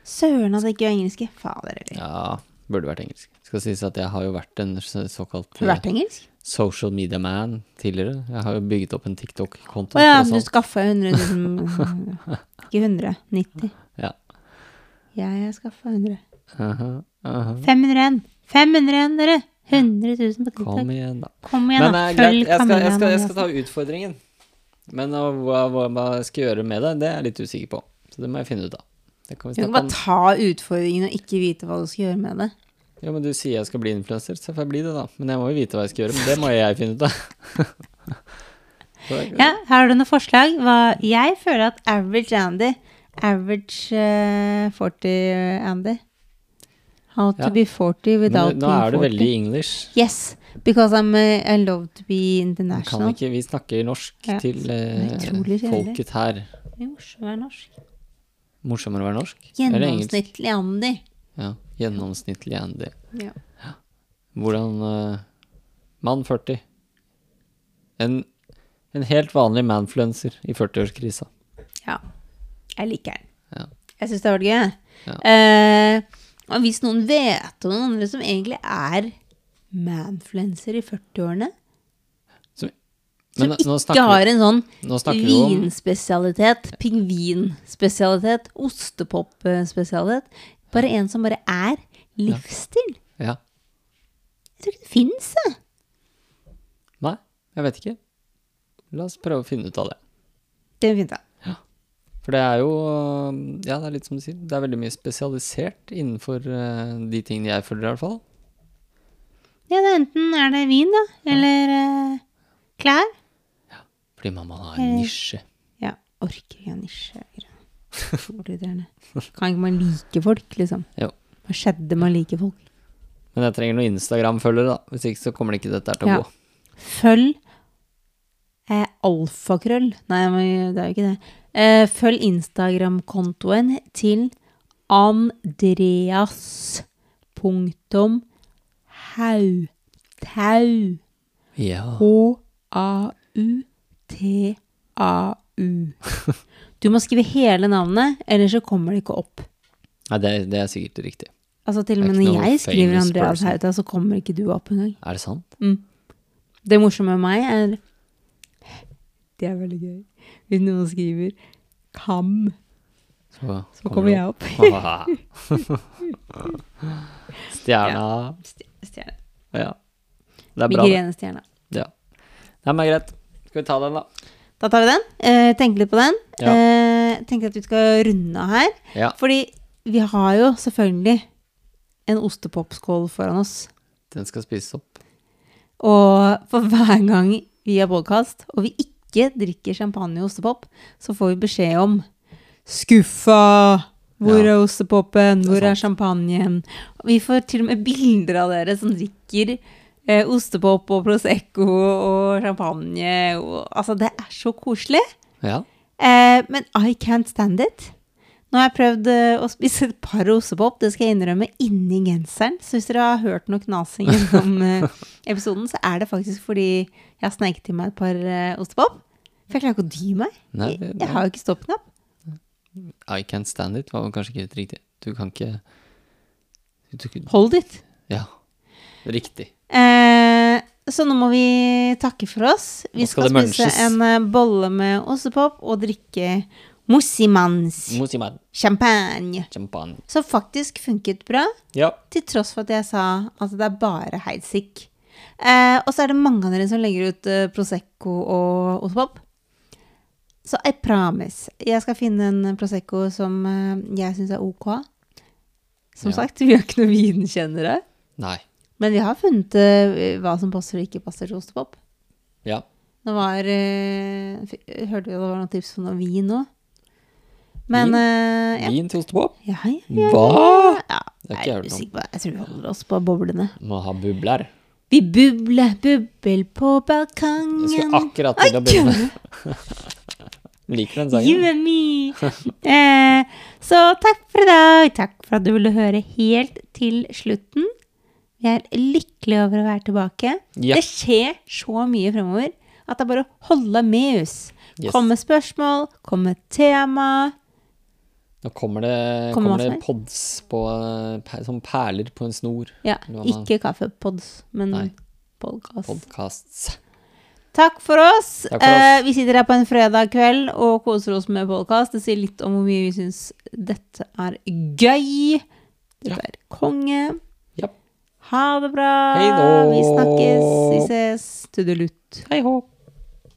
Speaker 2: Søren at det ikke er engelske. Fader heller.
Speaker 1: ja, burde vært engelsk. Skal sies at jeg har jo vært en så- såkalt
Speaker 2: Har du vært
Speaker 1: eh,
Speaker 2: engelsk?
Speaker 1: social media man tidligere. Jeg har jo bygget opp en TikTok-konto.
Speaker 2: Å ja,
Speaker 1: for
Speaker 2: du
Speaker 1: å sånn.
Speaker 2: skaffa 100 000 Ikke 100, 90.
Speaker 1: Ja.
Speaker 2: Jeg skaffa 100.
Speaker 1: Aha, aha.
Speaker 2: 501! 501, dere! 100 000 på
Speaker 1: Kom
Speaker 2: TikTok.
Speaker 1: igjen, da.
Speaker 2: Kom igjen,
Speaker 1: Men
Speaker 2: da.
Speaker 1: eh, greit,
Speaker 2: Følg altså.
Speaker 1: jeg skal, jeg, skal, jeg skal
Speaker 2: kameraet.
Speaker 1: ta utfordringen. Men eh, hva, hva, hva jeg skal gjøre med det, det er jeg litt usikker på. Så det må jeg finne ut av. Det kan
Speaker 2: Du
Speaker 1: vi snakke
Speaker 2: kan bare
Speaker 1: om.
Speaker 2: ta utfordringen og ikke vite hva du skal gjøre med det.
Speaker 1: Jo, men du sier jeg skal bli influenser, så får jeg bli det, da. Men jeg må jo vite hva jeg skal gjøre. Men det må jeg finne ut av. Så det-
Speaker 2: Ja, Har du noen forslag? Hva jeg føler at average Andy Average eh, 40 Andy. How to
Speaker 1: Ja.
Speaker 2: be 40
Speaker 1: Men eh,
Speaker 2: without
Speaker 1: nå er du
Speaker 2: being 40.
Speaker 1: veldig English.
Speaker 2: Yes, because I'm, eh, I love to be
Speaker 1: Vi Kan
Speaker 2: international.
Speaker 1: ikke, vi snakker norsk
Speaker 2: sånn. Ja.
Speaker 1: til eh,
Speaker 2: Det er utrolig kjedelig.
Speaker 1: folket her.
Speaker 2: Jo, så er norsk.
Speaker 1: Morsommere å være norsk? Eller engelsk?
Speaker 2: Gjennomsnittlig Andy.
Speaker 1: Ja, gjennomsnittlig Andy.
Speaker 2: Ja.
Speaker 1: Hvordan eh, Mann 40. En, en helt vanlig manfluencer i 40-årskrisa.
Speaker 2: Ja. Jeg liker den.
Speaker 1: Ja.
Speaker 2: Jeg syns det har vært gøy.
Speaker 1: Ja.
Speaker 2: Eh, og hvis noen vet om noen andre som egentlig er manfluencer i 40-årene
Speaker 1: Som Men
Speaker 2: Som
Speaker 1: nå- nå
Speaker 2: ikke
Speaker 1: snakker vi-
Speaker 2: har en sånn
Speaker 1: Nå snakker vi jo om
Speaker 2: vinspesialitet, pingvinspesialitet, ostepopspesialitet. Bare en som bare er livsstil.
Speaker 1: Ja.
Speaker 2: Jeg tror ikke det fins, jeg.
Speaker 1: Nei, jeg vet ikke. La oss prøve å finne ut av det.
Speaker 2: Det er fint, da.
Speaker 1: For det er jo eh, Ja, det er litt som du sier. Det er veldig mye spesialisert innenfor eh, de tingene jeg følger, i hvert fall.
Speaker 2: Ja, det er enten er det vin, da, eller eh, klær.
Speaker 1: Fordi mamma har
Speaker 2: Eh.
Speaker 1: en nisje.
Speaker 2: Ja, orker ikke nisjegreier. Irriterende. Kan ikke man like folk, liksom?
Speaker 1: Jo.
Speaker 2: Hva skjedde med å like folk?
Speaker 1: Men jeg trenger noen Instagram-følgere, da. Hvis ikke så kommer det ikke dette her til å
Speaker 2: Ja.
Speaker 1: gå.
Speaker 2: Følg eh, alfakrøll. Nei, men det er jo ikke det. Eh, følg Instagram-kontoen til andreas.hautau.
Speaker 1: Ja.
Speaker 2: H-a-u-t-a-u. Du må skrive hele navnet, ellers så kommer det ikke opp.
Speaker 1: Nei, det, det er sikkert riktig.
Speaker 2: Altså Til og
Speaker 1: Det er
Speaker 2: med
Speaker 1: ikke
Speaker 2: når
Speaker 1: noe
Speaker 2: jeg skriver
Speaker 1: famous
Speaker 2: Andreas
Speaker 1: person.
Speaker 2: Hautau, så kommer ikke du opp engang.
Speaker 1: Er det sant?
Speaker 2: Det morsomme med meg er Det er veldig gøy. Hvis noen skriver 'kam',
Speaker 1: Så,
Speaker 2: så kommer jeg opp.
Speaker 1: opp. Stjerna.
Speaker 2: Stjerne.
Speaker 1: Ja. Det er bra. det.
Speaker 2: Migrenestjerna.
Speaker 1: Ja. Nei, men greit. Skal vi ta den, da?
Speaker 2: Da tar vi den. Eh, tenk litt på den.
Speaker 1: Ja.
Speaker 2: Eh, tenker at vi skal runde av her.
Speaker 1: Ja.
Speaker 2: Fordi vi har jo selvfølgelig en ostepopskål foran oss.
Speaker 1: Den skal spises opp.
Speaker 2: Og for hver gang vi har podkast, og vi ikke drikker champagne og ostepop, så får vi beskjed om Skuffa! Hvor
Speaker 1: Ja.
Speaker 2: er ostepopen? Hvor er
Speaker 1: sant.
Speaker 2: champagnen? Og Vi får til og med bilder av dere som drikker eh, ostepop og Prosecco og champagne. Og, altså, det er så koselig.
Speaker 1: Ja.
Speaker 2: Eh, men I can't stand it. Nå har jeg prøvd eh, å spise et par ostepop, det skal jeg innrømme, inni genseren. Så hvis dere har hørt noe knasing gjennom eh, episoden, så er det faktisk fordi jeg har sneket i meg et par eh, ostepop. For jeg klarer ikke å dy meg.
Speaker 1: Nei,
Speaker 2: Jeg,
Speaker 1: det-
Speaker 2: jeg har jo ikke stoppknapp.
Speaker 1: I can't stand it var vel kanskje ikke helt riktig. Du kan ikke du, kan-
Speaker 2: Hold it.
Speaker 1: Ja. Riktig.
Speaker 2: Eh, så nå må vi takke for oss. Vi
Speaker 1: Nå skal
Speaker 2: skal,
Speaker 1: det
Speaker 2: spise
Speaker 1: munches.
Speaker 2: en eh, bolle med ostepop og drikke Mossimans
Speaker 1: Musiman.
Speaker 2: champagne.
Speaker 1: Champagne.
Speaker 2: Som faktisk funket bra.
Speaker 1: Ja.
Speaker 2: Til tross for at jeg sa at det er bare heidsik. Eh, og så er det mange av dere som legger ut eh, Prosecco og ostepop. Så I promise. Jeg skal finne en Prosecco som eh, jeg syns er ok. Som
Speaker 1: Ja.
Speaker 2: sagt, vi er ikke noen vinkjennere.
Speaker 1: Nei.
Speaker 2: Men vi har funnet eh, hva som passer og ikke passer til ostepop.
Speaker 1: Ja.
Speaker 2: Nå var eh, f- Hørte vi at det var noen tips for noe vin nå? Men
Speaker 1: Vin?
Speaker 2: eh, ja.
Speaker 1: Vin til ostepop?
Speaker 2: Ja, ja, ja.
Speaker 1: Hva?
Speaker 2: Ja,
Speaker 1: Det har ikke
Speaker 2: jeg
Speaker 1: jeg
Speaker 2: er
Speaker 1: hørt om.
Speaker 2: usikker på det. Jeg tror vi holder oss på boblene.
Speaker 1: Må ha bubler.
Speaker 2: Vi bubler bubbel på
Speaker 1: Jeg
Speaker 2: balkongen.
Speaker 1: skulle akkurat til å begynne med. Liker den
Speaker 2: You
Speaker 1: sangen.
Speaker 2: and me. eh, så takk for i dag. Takk for at du ville høre helt til slutten. Vi er lykkelige over å være tilbake.
Speaker 1: Ja.
Speaker 2: Det skjer så mye fremover at det er bare å holde med oss.
Speaker 1: Yes.
Speaker 2: Kom med spørsmål, kom med tema.
Speaker 1: Nå kommer det,
Speaker 2: Kommer
Speaker 1: kommer
Speaker 2: masse
Speaker 1: det pods på, eh, per- som perler på en snor.
Speaker 2: Ja,
Speaker 1: Noe annet.
Speaker 2: ikke kaffepods,
Speaker 1: Nei.
Speaker 2: men podkast.
Speaker 1: Podcasts.
Speaker 2: Takk for oss.
Speaker 1: Takk for oss.
Speaker 2: Eh, vi sitter her på en fredag kveld og koser oss med podkast. Det sier litt om hvor mye vi syns dette er gøy. Dette er konge.
Speaker 1: Ja.
Speaker 2: Ha det bra.
Speaker 1: Hei då.
Speaker 2: Vi snakkes. Vi ses. Tudelutt.
Speaker 1: Hei hopp.